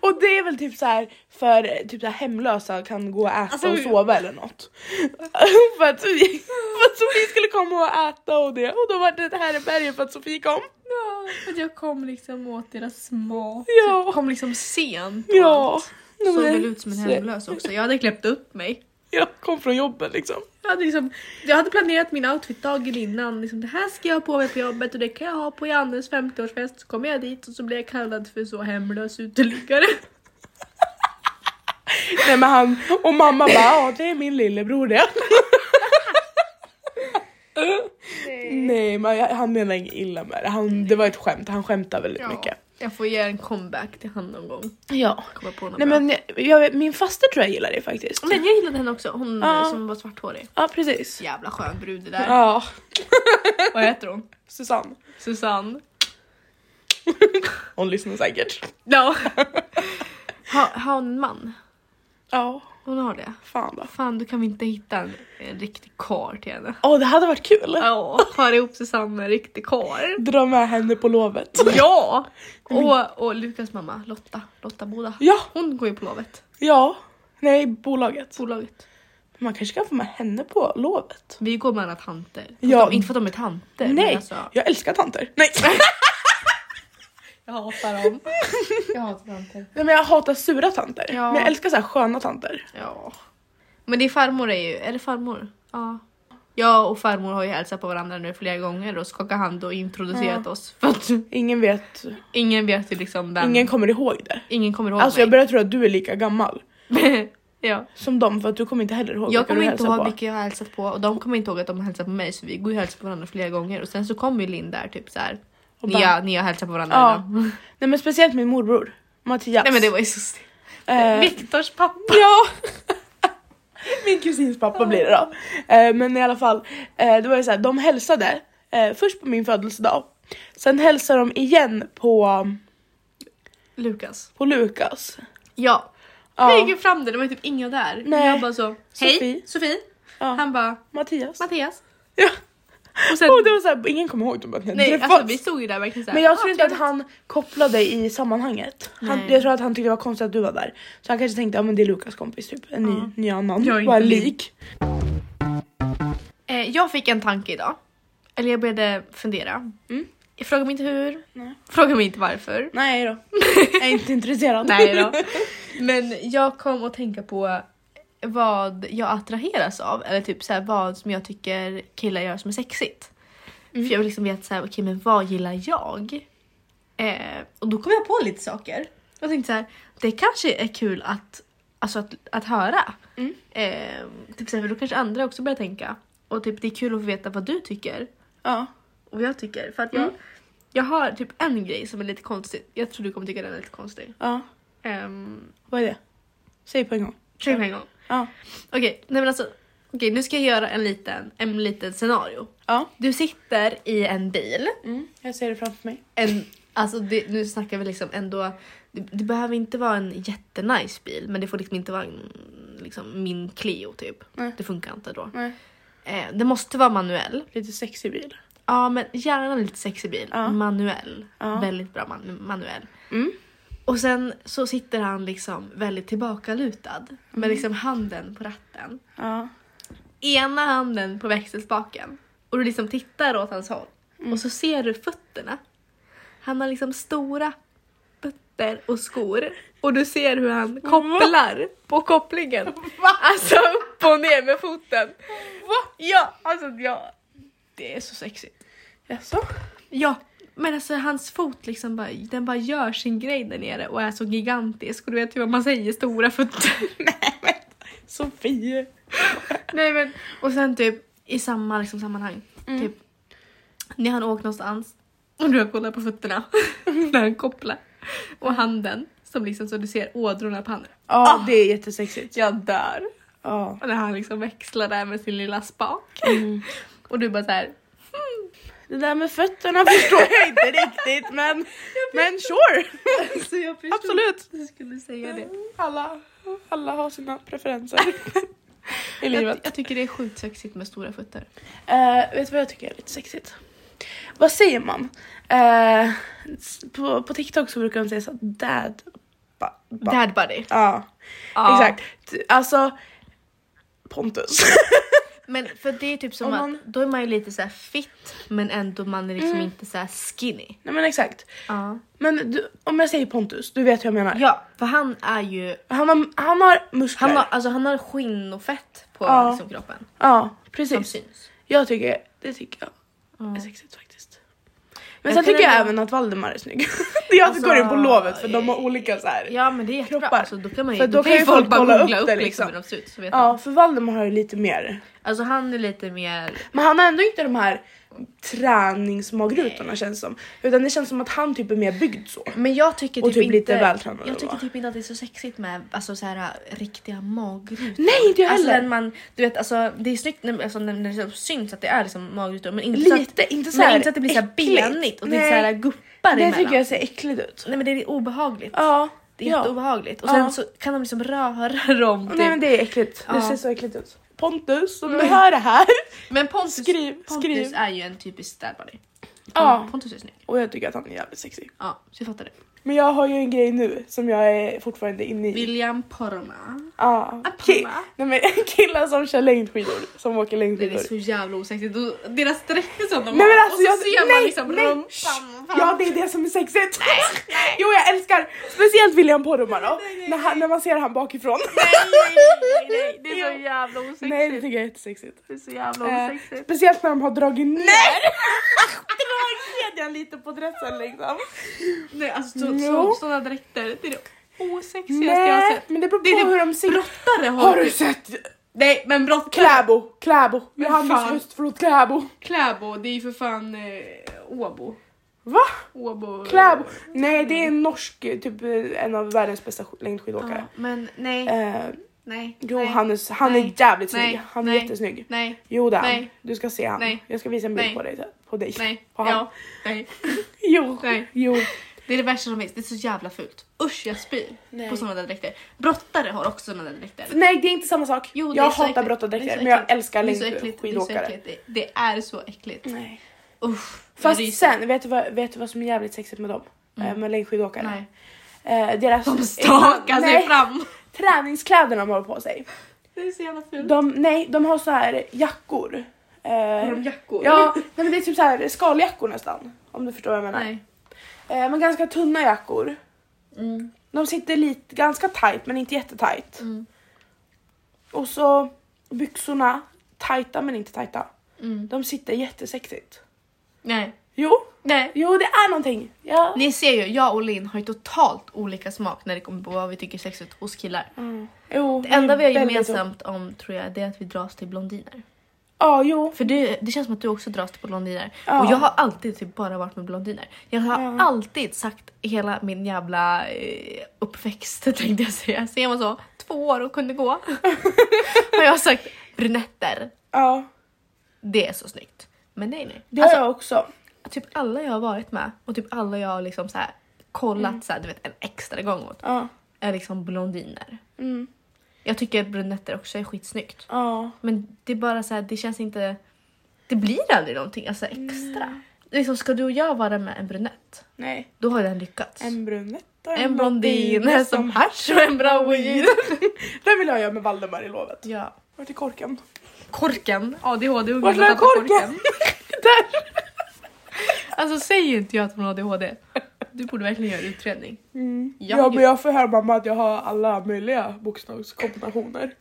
Speaker 2: och det är väl typ så här för typ så här, hemlösa kan gå och äta
Speaker 1: Alltså,
Speaker 2: och
Speaker 1: vi-
Speaker 2: sova eller något. för, att Sofie, för att Sofie skulle komma och äta och det och då var det ett härbärge för att Sofie kom.
Speaker 1: Ja, för att jag kom liksom åt deras mat.
Speaker 2: Ja.
Speaker 1: Jag kom liksom sent. och
Speaker 2: Ja,
Speaker 1: allt.
Speaker 2: nej,
Speaker 1: Såg
Speaker 2: men-
Speaker 1: väl ut som en
Speaker 2: så-
Speaker 1: hemlös också. Jag hade kläppt upp mig.
Speaker 2: Jag kom från jobbet liksom.
Speaker 1: Jag hade, liksom, jag hade planerat min outfit dagen innan. Liksom, det här ska jag ha på mig på jobbet och det kan jag ha på Jannes 50-årsfest. Så kommer jag dit och så blir jag kallad för så hemlös uteliggare.
Speaker 2: Nej men han och mamma bara, ja det är min lillebror det. Nej, men jag- han menar inget illa med det. Han, det var ett skämt, han skämtar väldigt mycket.
Speaker 1: Jag får ge en comeback till han någon gång.
Speaker 2: Ja.
Speaker 1: Komma på något
Speaker 2: Nej
Speaker 1: bra.
Speaker 2: men jag, min faster tror jag gillar det faktiskt.
Speaker 1: men jag gillade henne också. Hon
Speaker 2: Ja.
Speaker 1: eh, som var svarthårig.
Speaker 2: Ja precis.
Speaker 1: Jävla skön brud det där.
Speaker 2: Ja,
Speaker 1: Vad heter hon?
Speaker 2: Susanne.
Speaker 1: Susanne.
Speaker 2: Hon lyssnar säkert.
Speaker 1: Ja. Ha- Har hon en man?
Speaker 2: Ja,
Speaker 1: Hon har det.
Speaker 2: fan då.
Speaker 1: Fan, du kan vi inte hitta en, en riktig karl till henne?
Speaker 2: Åh det hade varit kul.
Speaker 1: Ja, har ihop Susanne med en riktig karl.
Speaker 2: Dra med henne på lovet.
Speaker 1: Ja! Och, och Lukas mamma, Lotta, Lotta Boda.
Speaker 2: Ja,
Speaker 1: Hon går ju på lovet.
Speaker 2: ja. Nej, bolaget.
Speaker 1: Bolaget.
Speaker 2: Man kanske kan få med henne på lovet.
Speaker 1: Vi går med alla tanter. Fast
Speaker 2: Ja.
Speaker 1: De, inte för att de är tanter.
Speaker 2: Nej,
Speaker 1: Men alltså,
Speaker 2: jag älskar tanter. Nej.
Speaker 1: jag hatar dem. Jag hatar tanter.
Speaker 2: Nej men jag hatar sura tanter.
Speaker 1: Ja.
Speaker 2: Men jag älskar så här sköna tanter.
Speaker 1: Ja. Men det är farmor är ju, är det farmor? Ja. Jag och farmor har ju hälsat på varandra nu flera gånger och skakat hand och introducerat oss. För att
Speaker 2: Ingen vet,
Speaker 1: ingen vet ju liksom vem.
Speaker 2: ingen kommer ihåg det.
Speaker 1: ingen kommer ihåg
Speaker 2: Alltså
Speaker 1: mig.
Speaker 2: jag börjar tro att du är lika gammal
Speaker 1: ja.
Speaker 2: som dem för att du kommer inte heller ihåg
Speaker 1: Jag
Speaker 2: vilka du
Speaker 1: kommer inte
Speaker 2: hälsar
Speaker 1: ihåg
Speaker 2: på.
Speaker 1: vilka jag har hälsat på och de kommer inte ihåg att de har hälsat på mig så vi går ju och hälsar på varandra flera gånger och sen så kommer ju Linn där typ så här.
Speaker 2: Och
Speaker 1: Ni,
Speaker 2: bara-
Speaker 1: har, ni har hälsat på varandra
Speaker 2: Ja.
Speaker 1: redan.
Speaker 2: Nej men speciellt min morbror. Mattias.
Speaker 1: Nej men det var ju så
Speaker 2: Eh,
Speaker 1: Viktors pappa.
Speaker 2: Ja! Min kusins pappa blir det då. Eh, men i alla fall, eh, det var ju så här, de hälsade eh, först på min födelsedag. Sen hälsade de igen på,
Speaker 1: Lukas.
Speaker 2: på Lukas.
Speaker 1: Ja.
Speaker 2: Ja.
Speaker 1: Jag gick ju fram där, det var ju typ inga där.
Speaker 2: Nej.
Speaker 1: Jag bara så, hej
Speaker 2: Sofie.
Speaker 1: Sofie.
Speaker 2: Ja.
Speaker 1: Han bara,
Speaker 2: Mattias.
Speaker 1: Mattias.
Speaker 2: Ja.
Speaker 1: Och sen,
Speaker 2: Och det var så här, ingen kommer ihåg dem att ni hade
Speaker 1: nej
Speaker 2: träffats.
Speaker 1: alltså vi stod ju där verkligen såhär.
Speaker 2: Men jag tror inte att han kopplade i sammanhanget. Han,
Speaker 1: Ah, Nej.
Speaker 2: jag tror att han tyckte det var konstigt att du var där. Så han kanske tänkte, ja men det är Lukas kompis typ. En ny, ny annan.
Speaker 1: Jag är inte
Speaker 2: Bara
Speaker 1: min.
Speaker 2: lik.
Speaker 1: eh, Jag fick en tanke idag. Eller jag började fundera.
Speaker 2: Mm.
Speaker 1: Jag frågar mig inte hur.
Speaker 2: Nej.
Speaker 1: Frågar mig inte varför.
Speaker 2: Nej då. jag är inte intresserad.
Speaker 1: Nej då. Men jag kom att tänka på vad jag attraheras av eller typ så här, vad som jag tycker killar gör som är sexigt. För jag vill liksom veta så här, okej men vad gillar jag? Eh, och då kom jag på lite saker. Jag tänkte så här, det kanske är kul att, alltså att, att höra.
Speaker 2: Mm.
Speaker 1: Eh, typ så här, för då kanske andra också börjar tänka. Och typ det är kul att få veta vad du tycker
Speaker 2: Ja.
Speaker 1: och vad jag tycker. För att jag, jag har typ en grej som är lite konstig. Jag tror du kommer tycka den är lite konstig.
Speaker 2: ja.
Speaker 1: Ehm,
Speaker 2: Vad är det? Säg på en gång.
Speaker 1: Kör på en gång.
Speaker 2: Ja.
Speaker 1: Okej, nej men alltså. Okej, nu ska jag göra en liten, en liten scenario.
Speaker 2: Ja.
Speaker 1: Du sitter i en bil.
Speaker 2: Mm. Jag ser det framför mig.
Speaker 1: En, alltså det, nu snackar vi liksom ändå. Det, det behöver inte vara en jättenice bil, men det får liksom inte vara en, liksom min Clio typ.
Speaker 2: Nej.
Speaker 1: Det funkar inte då.
Speaker 2: Nej.
Speaker 1: Eh, det måste vara manuell.
Speaker 2: Lite sexig bil.
Speaker 1: Ja, men gärna en lite sexig bil.
Speaker 2: Ja.
Speaker 1: Manuell.
Speaker 2: Ja.
Speaker 1: Väldigt bra man, manuell.
Speaker 2: Mm.
Speaker 1: Och sen så sitter han liksom väldigt tillbakalutad
Speaker 2: Mm.
Speaker 1: med liksom handen på ratten.
Speaker 2: Ja.
Speaker 1: ena handen på växelspaken och du liksom tittar åt hans håll och så ser du fötterna. Han har liksom stora fötter och skor och du ser hur han kopplar på kopplingen. Alltså upp och ner med foten. Ja, alltså ja. Det är så sexigt.
Speaker 2: Jaså?
Speaker 1: Ja, men alltså hans fot liksom bara, den bara gör sin grej där nere och är så gigantisk och du vet hur man säger stora fötter.
Speaker 2: Sofie.
Speaker 1: Nej men, och sen typ i samma liksom, sammanhang. Typ, när Mm. han åkt någonstans och du har kollat på fötterna när han kopplar och handen så
Speaker 3: som liksom så du ser ådrorna på handen.
Speaker 2: Ja,
Speaker 1: Ah.
Speaker 2: det är jättesexigt.
Speaker 3: Jag dör.
Speaker 2: Ja.
Speaker 3: Och när han liksom växlar där med sin lilla spak.
Speaker 2: Mm.
Speaker 3: Och du bara så här.
Speaker 2: Det där med fötterna förstår jag inte riktigt men, men sure.
Speaker 3: Så jag förstod
Speaker 2: Absolut.
Speaker 3: att du skulle säga det.
Speaker 2: Mm, Alla, alla har sina preferenser i
Speaker 1: Jag,
Speaker 2: livet.
Speaker 1: jag tycker det är sjukt sexigt med stora fötter.
Speaker 2: Eh, vet du vad jag tycker är lite sexigt? Vad säger man? Eh, s- på, på TikTok så brukar de säga så här, dad. Ba, ba.
Speaker 1: Dad body.
Speaker 2: Ja,
Speaker 1: Ja.
Speaker 2: exakt. T- Alltså Pontus.
Speaker 1: Men för det är typ som
Speaker 2: Om
Speaker 1: att
Speaker 2: man-
Speaker 1: då är man ju lite så här fit men ändå man är liksom
Speaker 2: Mm.
Speaker 1: inte så här skinny.
Speaker 2: Nej men exakt.
Speaker 1: Ja.
Speaker 2: Men du, om jag säger Pontus, du vet hur jag menar.
Speaker 1: för han är ju
Speaker 2: Han, har, han har muskler.
Speaker 1: han har, alltså, han har skinn och fett på
Speaker 2: Ja.
Speaker 1: liksom, kroppen
Speaker 2: Ja,
Speaker 1: som
Speaker 2: precis.
Speaker 1: syns. Alltså,
Speaker 2: Jag tycker, det tycker jag är
Speaker 1: Ja.
Speaker 2: sexigt faktiskt. Men
Speaker 1: Jag
Speaker 2: sen
Speaker 1: kan
Speaker 2: tycker jag
Speaker 1: ändå-
Speaker 2: även att Valdemar är snygg. Det är jag som
Speaker 1: Alltså, eh,
Speaker 2: går in på lovet för de har olika så här.
Speaker 1: Ja men det är jättebra.
Speaker 2: Kroppar.
Speaker 1: Alltså, då kan man ju,
Speaker 2: För
Speaker 1: då kan ju folk, bara
Speaker 2: kolla
Speaker 1: googla
Speaker 2: upp
Speaker 1: upp
Speaker 2: det,
Speaker 1: liksom.
Speaker 2: liksom.
Speaker 1: hur de ser ut så vet
Speaker 2: Ja,
Speaker 1: man.
Speaker 2: för Valdemar har ju lite mer.
Speaker 1: Alltså han är lite mer...
Speaker 2: Men han har ändå inte de här träningsmagrutorna känns som. Utan det känns som att han typ är mer byggd så.
Speaker 1: Men jag tycker
Speaker 2: Och
Speaker 1: typ,
Speaker 2: typ
Speaker 1: inte...
Speaker 2: lite vältränad
Speaker 1: jag
Speaker 2: eller
Speaker 1: tycker
Speaker 2: vad?
Speaker 1: typ inte att det är så sexigt med alltså, så här, riktiga magrutor.
Speaker 2: Nej inte jag
Speaker 1: Alltså
Speaker 2: heller.
Speaker 1: när man, du vet alltså det är snyggt när, alltså, när när det syns att det är liksom magrutor men inte så att
Speaker 2: lite, inte så här
Speaker 1: men inte att det blir så här
Speaker 2: äckligt.
Speaker 1: benigt och det
Speaker 2: Nej,
Speaker 1: är så här guppar
Speaker 2: det
Speaker 1: emellan.
Speaker 2: tycker jag ser äckligt ut.
Speaker 1: Nej men det är obehagligt.
Speaker 2: Ja.
Speaker 1: Det är
Speaker 2: ja.
Speaker 1: jätteobehagligt. Och
Speaker 2: Ja.
Speaker 1: sen så kan de liksom röra dem. Typ.
Speaker 2: Nej men det är äckligt. Det
Speaker 1: Ja. Mm.
Speaker 2: ser så äckligt ut. Pontus om du hör det här.
Speaker 1: Men Pontus,
Speaker 2: Skriv,
Speaker 1: Pontus
Speaker 2: skriv.
Speaker 1: är ju en typisk dadbody.
Speaker 2: Ja.
Speaker 1: Pontus är snygg.
Speaker 2: Och jag tycker att han är jävligt sexig.
Speaker 1: Ja, så jag fattar det.
Speaker 2: Men jag har ju en grej nu som jag är fortfarande inne i.
Speaker 1: William Porma.
Speaker 2: Ja. Ki- Nej, men killar som kör längdskidor. Som åker
Speaker 1: Det är
Speaker 2: längdskidor.
Speaker 1: så jävla osexigt. Och Deras dräkter som de
Speaker 2: Nej, men
Speaker 1: har.
Speaker 2: alltså,
Speaker 1: och så
Speaker 2: jag-
Speaker 1: ser
Speaker 2: nej,
Speaker 1: man liksom
Speaker 2: nej,
Speaker 1: rumpan.
Speaker 2: Ja det är det som är sexigt. Jo jag älskar speciellt William Poromaa då. När, han, när man ser han bakifrån.
Speaker 1: Nej, nej, nej, nej, det är så
Speaker 2: Jo.
Speaker 1: jävla osexigt.
Speaker 2: Nej det tycker jag är jättesexigt.
Speaker 1: Det är så jävla
Speaker 2: Eh,
Speaker 1: osexigt.
Speaker 2: speciellt när de har dragit ner. Drar kedjan lite på dressen liksom.
Speaker 1: Nej, alltså
Speaker 2: Jo.
Speaker 1: så, så, sådana dräkter, det är det osexigaste jag har
Speaker 2: Nej
Speaker 1: sett.
Speaker 2: men det beror på
Speaker 1: Det är det
Speaker 2: hur de ser
Speaker 1: Brottare har,
Speaker 2: Har du sett
Speaker 1: Nej men brottare.
Speaker 2: Kläbo? Kläbo.
Speaker 1: Men
Speaker 2: Johannes
Speaker 1: fan.
Speaker 2: höstflod Kläbo.
Speaker 3: Kläbo, det är ju för fan eh, Åbo.
Speaker 2: Va?
Speaker 3: Åbo.
Speaker 2: Kläbo?
Speaker 1: eh,
Speaker 2: Nej det är en norsk, typ eh, en av världens bästa sk- längdskidåkare.
Speaker 1: Ja, men nej,
Speaker 2: Eh,
Speaker 1: nej,
Speaker 2: jo
Speaker 1: nej,
Speaker 2: Hannes, han
Speaker 1: Nej.
Speaker 2: är jävligt
Speaker 1: Nej.
Speaker 2: snygg. Han är
Speaker 1: Nej.
Speaker 2: jättesnygg.
Speaker 1: nej,
Speaker 2: Jo det är han.
Speaker 3: Nej.
Speaker 2: Du ska se han.
Speaker 3: Nej.
Speaker 2: Jag ska visa en bild
Speaker 3: Nej.
Speaker 2: på dig. På dig.
Speaker 3: Nej.
Speaker 2: På han.
Speaker 3: Ja. Nej.
Speaker 2: Jo.
Speaker 3: Nej.
Speaker 2: Jo.
Speaker 1: det är det värsta som finns. Det är så jävla fult. Usch jag spyr
Speaker 2: Nej.
Speaker 1: på sådana där dräkter. Brottare har också sådana där dräkter.
Speaker 2: Nej det är inte samma sak.
Speaker 1: Jo, det är
Speaker 2: jag
Speaker 1: så
Speaker 2: hatar
Speaker 1: äckligt. Det är
Speaker 2: brottardräkter
Speaker 1: så
Speaker 2: men jag
Speaker 1: äckligt.
Speaker 2: älskar
Speaker 1: Det är så äckligt, det är så
Speaker 2: längdskidåkare.
Speaker 1: äckligt. Det- Det är så äckligt.
Speaker 2: Nej.
Speaker 1: Usch. jag
Speaker 2: Fast
Speaker 1: ryser.
Speaker 2: sen, vet du, vad, vet du vad som är jävligt sexigt med dem? Eh, Med längdskidåkare?
Speaker 1: Mm. Nej.
Speaker 2: Eh, deras
Speaker 1: De stakar sig
Speaker 2: nej,
Speaker 1: fram.
Speaker 2: träningskläderna de har på sig.
Speaker 3: Det är så jävla
Speaker 1: Mm.
Speaker 3: fult.
Speaker 2: De, nej, de har så här jackor. Eh,
Speaker 3: Har de jackor?
Speaker 2: Ja, nej, men det är typ så här skaljackor nästan. Om du förstår vad jag menar.
Speaker 1: Nej.
Speaker 2: Eh, men ganska tunna jackor.
Speaker 1: Mm.
Speaker 2: De sitter lite, ganska tight men inte jättetajt.
Speaker 1: Mm.
Speaker 2: Och så byxorna, tajta men inte tajta.
Speaker 1: Mm.
Speaker 2: De sitter jättesexigt.
Speaker 1: Nej.
Speaker 2: Jo,
Speaker 1: Nej.
Speaker 2: jo det är någonting. Ja.
Speaker 1: Ni ser ju, jag och Linn har ju totalt olika smak när det kommer på vad vi tycker är sexigt hos killar.
Speaker 2: Mm. Jo,
Speaker 1: Det enda vi har
Speaker 2: väldigt-
Speaker 1: gemensamt om tror jag det är att vi dras till blondiner.
Speaker 2: Ja, jo.
Speaker 1: För du, det känns som att du också dras till blondiner.
Speaker 2: Ja.
Speaker 1: Och jag har alltid typ bara varit med blondiner. Jag har
Speaker 2: Ja.
Speaker 1: alltid sagt hela min jävla eh, uppväxt tänkte jag säga. Sen jag var så två år och kunde gå. har jag sagt brunetter,
Speaker 2: Ja,
Speaker 1: det är så snyggt. Men nej nej.
Speaker 2: det
Speaker 1: alltså,
Speaker 2: har jag också.
Speaker 1: Typ alla jag har varit med och typ alla jag har liksom så här kollat
Speaker 2: Mm.
Speaker 1: så här, du vet, en extra gång åt
Speaker 2: Ja.
Speaker 1: är liksom blondiner.
Speaker 2: Mm.
Speaker 1: Jag tycker att brunetter också är skitsnyggt.
Speaker 2: Ja.
Speaker 1: Men det är bara så här, det känns inte... Det blir aldrig någonting alltså extra. Liksom, ska du och jag vara med en brunett,
Speaker 2: Nej.
Speaker 1: då har den lyckats. En,
Speaker 2: En brunett och
Speaker 1: blondin som hasch och en bra weed.
Speaker 2: Den vill jag göra med Valdemar i lovet.
Speaker 1: Ja.
Speaker 2: Vart är korken?
Speaker 1: Korken. ADHD-ungen
Speaker 2: Vart
Speaker 1: har
Speaker 2: är
Speaker 1: tappat
Speaker 2: korken?
Speaker 1: korken.
Speaker 2: Där!
Speaker 1: Alltså säg ju inte jag att hon har ADHD. Du borde verkligen göra en utredning.
Speaker 2: Mm.
Speaker 1: Jag
Speaker 2: ja
Speaker 1: har
Speaker 2: men jag får höra mamma att jag har alla möjliga bokstavskombinationer.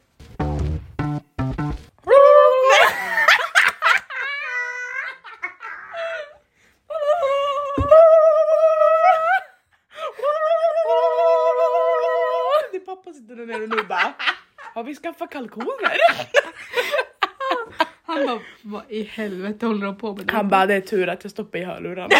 Speaker 2: Det är pappa sitter där nere och nu bara Har vi skaffat kalkoner?
Speaker 1: Han bara, vad i helvete håller de på med? nu?"
Speaker 2: Han bara, det är tur att jag stoppar i hörlurarna.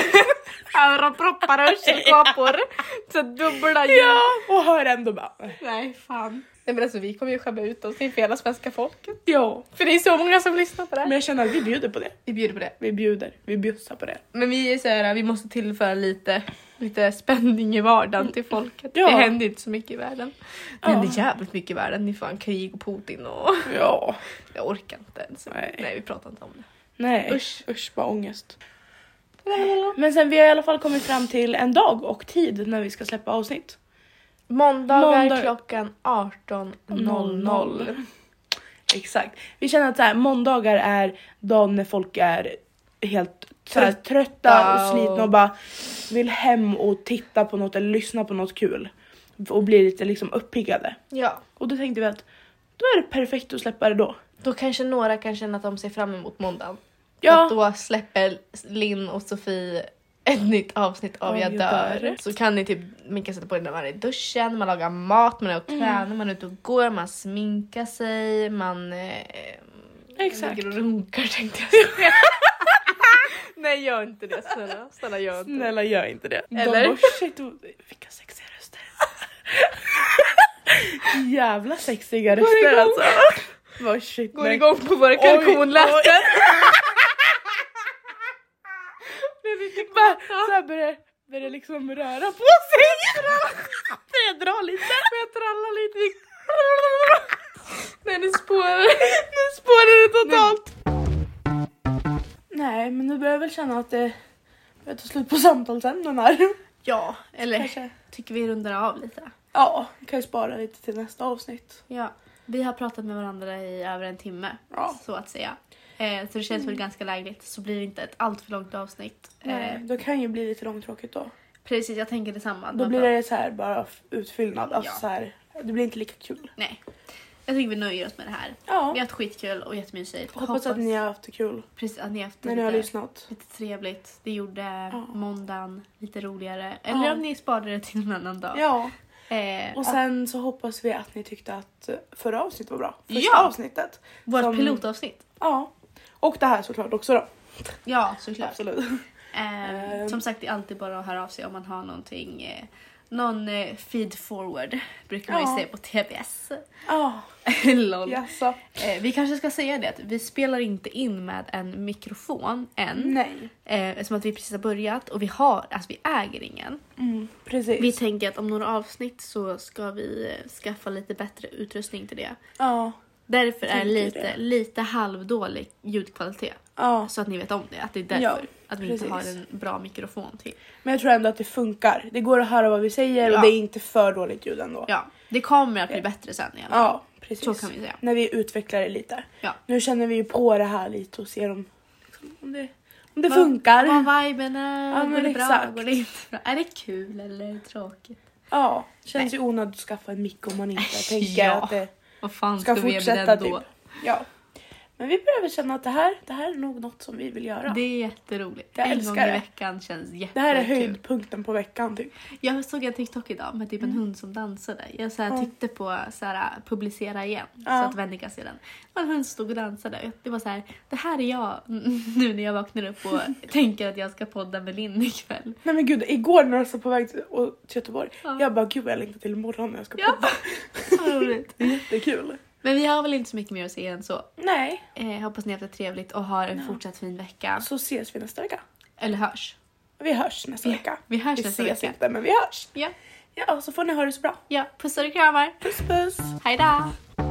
Speaker 1: Öronproppar och hörselkåpor. Så dubbla ljud.
Speaker 2: ja, och hör ändå bara. "Nej."
Speaker 1: Nej, fan. Nej, men alltså, vi kommer ju skämma ut oss inför hela svenska folket.
Speaker 2: Ja,
Speaker 1: För det är så många som lyssnar på det
Speaker 2: men
Speaker 1: här.
Speaker 2: jag känner att vi bjuder på det.
Speaker 1: Vi bjuder på det.
Speaker 2: Vi bjuder, vi bjussar på det.
Speaker 1: Men vi är så här, vi måste tillföra lite, lite spänning i vardagen till folket.
Speaker 2: Mm. Ja.
Speaker 1: Det händer inte så mycket i världen. Det
Speaker 2: Ja.
Speaker 1: händer jävligt mycket i världen. Det är fan krig och Putin och
Speaker 2: Ja,
Speaker 1: jag orkar inte ens.
Speaker 2: Nej.
Speaker 1: Nej, vi pratar inte om det.
Speaker 2: nej.
Speaker 1: Usch.
Speaker 2: Usch vad ångest. Men sen vi har i alla fall kommit fram till en dag och tid när vi ska släppa avsnitt.
Speaker 1: Måndagar
Speaker 2: Måndag-
Speaker 1: klockan 18.00.
Speaker 2: Exakt. Vi känner att så här, måndagar är dagen när folk är helt så här, trötta och slitna och bara vill hem och titta på något eller lyssna på något kul. Och blir lite liksom uppiggade.
Speaker 1: Ja,
Speaker 2: Och då tänkte vi att då är det perfekt att släppa det då.
Speaker 1: då kanske några kan känna att de ser fram emot måndagen.
Speaker 2: Ja.
Speaker 1: Att då släpper Linn och Sofie ett nytt avsnitt av
Speaker 2: Av
Speaker 1: Jag
Speaker 2: Jag
Speaker 1: dör.
Speaker 2: dör.
Speaker 1: Så kan ni typ, man kan sätta på den när man är i duschen, man lagar mat, man är och tränar, man är ute och går, man sminkar sig, man... Eh,
Speaker 2: Exakt.
Speaker 1: Ligger och runkar tänkte jag säga. Nej gör inte det snälla, snälla gör inte det.
Speaker 2: Snälla gör inte det.
Speaker 1: Eller?
Speaker 2: De bara, shit, och- vilka sexiga röster. Jävla sexiga röster
Speaker 1: igång.
Speaker 2: alltså. Vad shit,
Speaker 1: Går
Speaker 2: nej.
Speaker 1: igång på våra
Speaker 2: Oj,
Speaker 1: kalkonläten.
Speaker 2: Bara såhär börjar, börjar liksom röra på sig. Börjar dra lite. Börjar tralla lite.
Speaker 1: Nej nu spårar
Speaker 2: Nu spårar det totalt. Nej men nu börjar jag väl känna att det börjar ta slut på samtalsämnen här.
Speaker 1: Ja, eller
Speaker 2: Kanske.
Speaker 1: tycker vi rundar av lite.
Speaker 2: Ja, vi kan ju spara lite till nästa avsnitt.
Speaker 1: Ja, vi har pratat med varandra i över en timme
Speaker 2: Ja. Mm.
Speaker 1: så att säga. Eh, så det känns väl ganska lägligt. Så blir det inte ett allt för långt avsnitt. Eh,
Speaker 2: Nej, det kan ju bli lite långtråkigt då.
Speaker 1: precis, jag tänker detsamma.
Speaker 2: Då
Speaker 1: Man
Speaker 2: blir
Speaker 1: bara-
Speaker 2: det så här bara f- utfyllnad. Alltså
Speaker 1: Ja.
Speaker 2: så här, det blir inte lika kul.
Speaker 1: Nej. Jag tycker vi nöjer oss med det här.
Speaker 2: Ja.
Speaker 1: Vi har haft skitkul och jättemysigt.
Speaker 2: Hoppas, att ni har haft det kul
Speaker 1: precis, att ni har haft det
Speaker 2: när ni har
Speaker 1: lite,
Speaker 2: lyssnat.
Speaker 1: lite trevligt. Det gjorde måndagen lite roligare.
Speaker 2: Ja.
Speaker 1: Eller om ni sparade det till en annan dag.
Speaker 2: Ja,
Speaker 1: Eh,
Speaker 2: och sen så hoppas vi att ni tyckte att förra avsnittet var bra. Första
Speaker 1: Ja.
Speaker 2: avsnittet.
Speaker 1: vårt
Speaker 2: som-
Speaker 1: pilotavsnitt.
Speaker 2: Ja. Och det här såklart också då.
Speaker 1: Ja, såklart.
Speaker 2: Absolut.
Speaker 1: Ehm,
Speaker 2: Ehm.
Speaker 1: Som sagt, det är alltid bara att höra av sig om man har någonting, eh, någon eh, feed forward brukar man ju
Speaker 2: Ja.
Speaker 1: säga på TBS.
Speaker 2: Ja,
Speaker 1: Lol.
Speaker 2: jaså.
Speaker 1: Eh, vi kanske ska säga det att vi spelar inte in med en mikrofon än.
Speaker 2: Nej.
Speaker 1: Eh, som att vi precis har börjat och vi har, alltså vi äger ingen.
Speaker 2: Mm, precis.
Speaker 1: Vi tänker att om några avsnitt så ska vi eh, skaffa lite bättre utrustning till det.
Speaker 2: Ja.
Speaker 1: Därför är
Speaker 2: Tänker
Speaker 1: lite,
Speaker 2: det.
Speaker 1: lite halvdålig ljudkvalitet.
Speaker 2: ja.
Speaker 1: Så att ni vet om det, att det är därför.
Speaker 2: Ja,
Speaker 1: att vi inte har
Speaker 2: precis.
Speaker 1: en bra mikrofon till.
Speaker 2: Men jag tror ändå att det funkar. Det går att höra vad vi säger
Speaker 1: Ja.
Speaker 2: och det är inte för dåligt ljud ändå.
Speaker 1: Ja, det kommer att bli bättre sen i alla fall.
Speaker 2: Ja, precis.
Speaker 1: Så kan vi säga.
Speaker 2: När vi utvecklar det lite.
Speaker 1: Ja.
Speaker 2: Nu känner vi ju på det här lite och ser om, liksom, om det, om det
Speaker 1: Vad-
Speaker 2: funkar.
Speaker 1: Vad viben är,
Speaker 2: Ja,
Speaker 1: går
Speaker 2: men
Speaker 1: det bra,
Speaker 2: exakt.
Speaker 1: går det inte bra? Är det kul eller är det tråkigt?
Speaker 2: Ja, känns ju onödigt att skaffa en mick om man inte tänker
Speaker 1: Ja.
Speaker 2: att det
Speaker 1: Vad fan
Speaker 2: ska
Speaker 1: ska vi med
Speaker 2: fortsätta
Speaker 1: den
Speaker 2: typ.
Speaker 1: då?
Speaker 2: Ja. Men vi börjar väl känna att det här, det här är nog något som vi vill göra.
Speaker 1: Det
Speaker 2: Det,
Speaker 1: är jätteroligt.
Speaker 2: Jag
Speaker 1: en
Speaker 2: älskar
Speaker 1: gång i
Speaker 2: det.
Speaker 1: veckan känns jättekul.
Speaker 2: här är höjdpunkten på veckan typ.
Speaker 1: Jag såg en TikTok idag med typ en hund som dansade. Jag så här
Speaker 2: Mm. Ja.
Speaker 1: tyckte på så här, äh, publicera igen
Speaker 2: Ja.
Speaker 1: så att Veronica ser den. Det var en hund som stod och dansade. Det var så här, det här är jag nu när jag vaknar upp och tänker att jag ska podda med Linn ikväll.
Speaker 2: Nej men gud, igår när jag var på väg till, och, till Göteborg,
Speaker 1: Ja.
Speaker 2: jag bara gud vad jag längtar till imorgon när jag ska
Speaker 1: Ja.
Speaker 2: podda.
Speaker 1: Så roligt.
Speaker 2: Det är jättekul.
Speaker 1: Men vi har väl inte så mycket mer att säga än så.
Speaker 2: Nej,
Speaker 1: Eh, hoppas ni har haft det trevligt och har en fortsatt fin vecka.
Speaker 2: så ses vi nästa vecka.
Speaker 1: Eller hörs.
Speaker 2: Vi hörs nästa vecka.
Speaker 1: Vi hörs
Speaker 2: Vi
Speaker 1: nästa
Speaker 2: ses
Speaker 1: vecka.
Speaker 2: inte men vi hörs.
Speaker 1: Ja,
Speaker 2: Ja, så får ni ha det så bra.
Speaker 1: ja. Pussar och kramar.
Speaker 2: Puss puss!
Speaker 1: Hej då!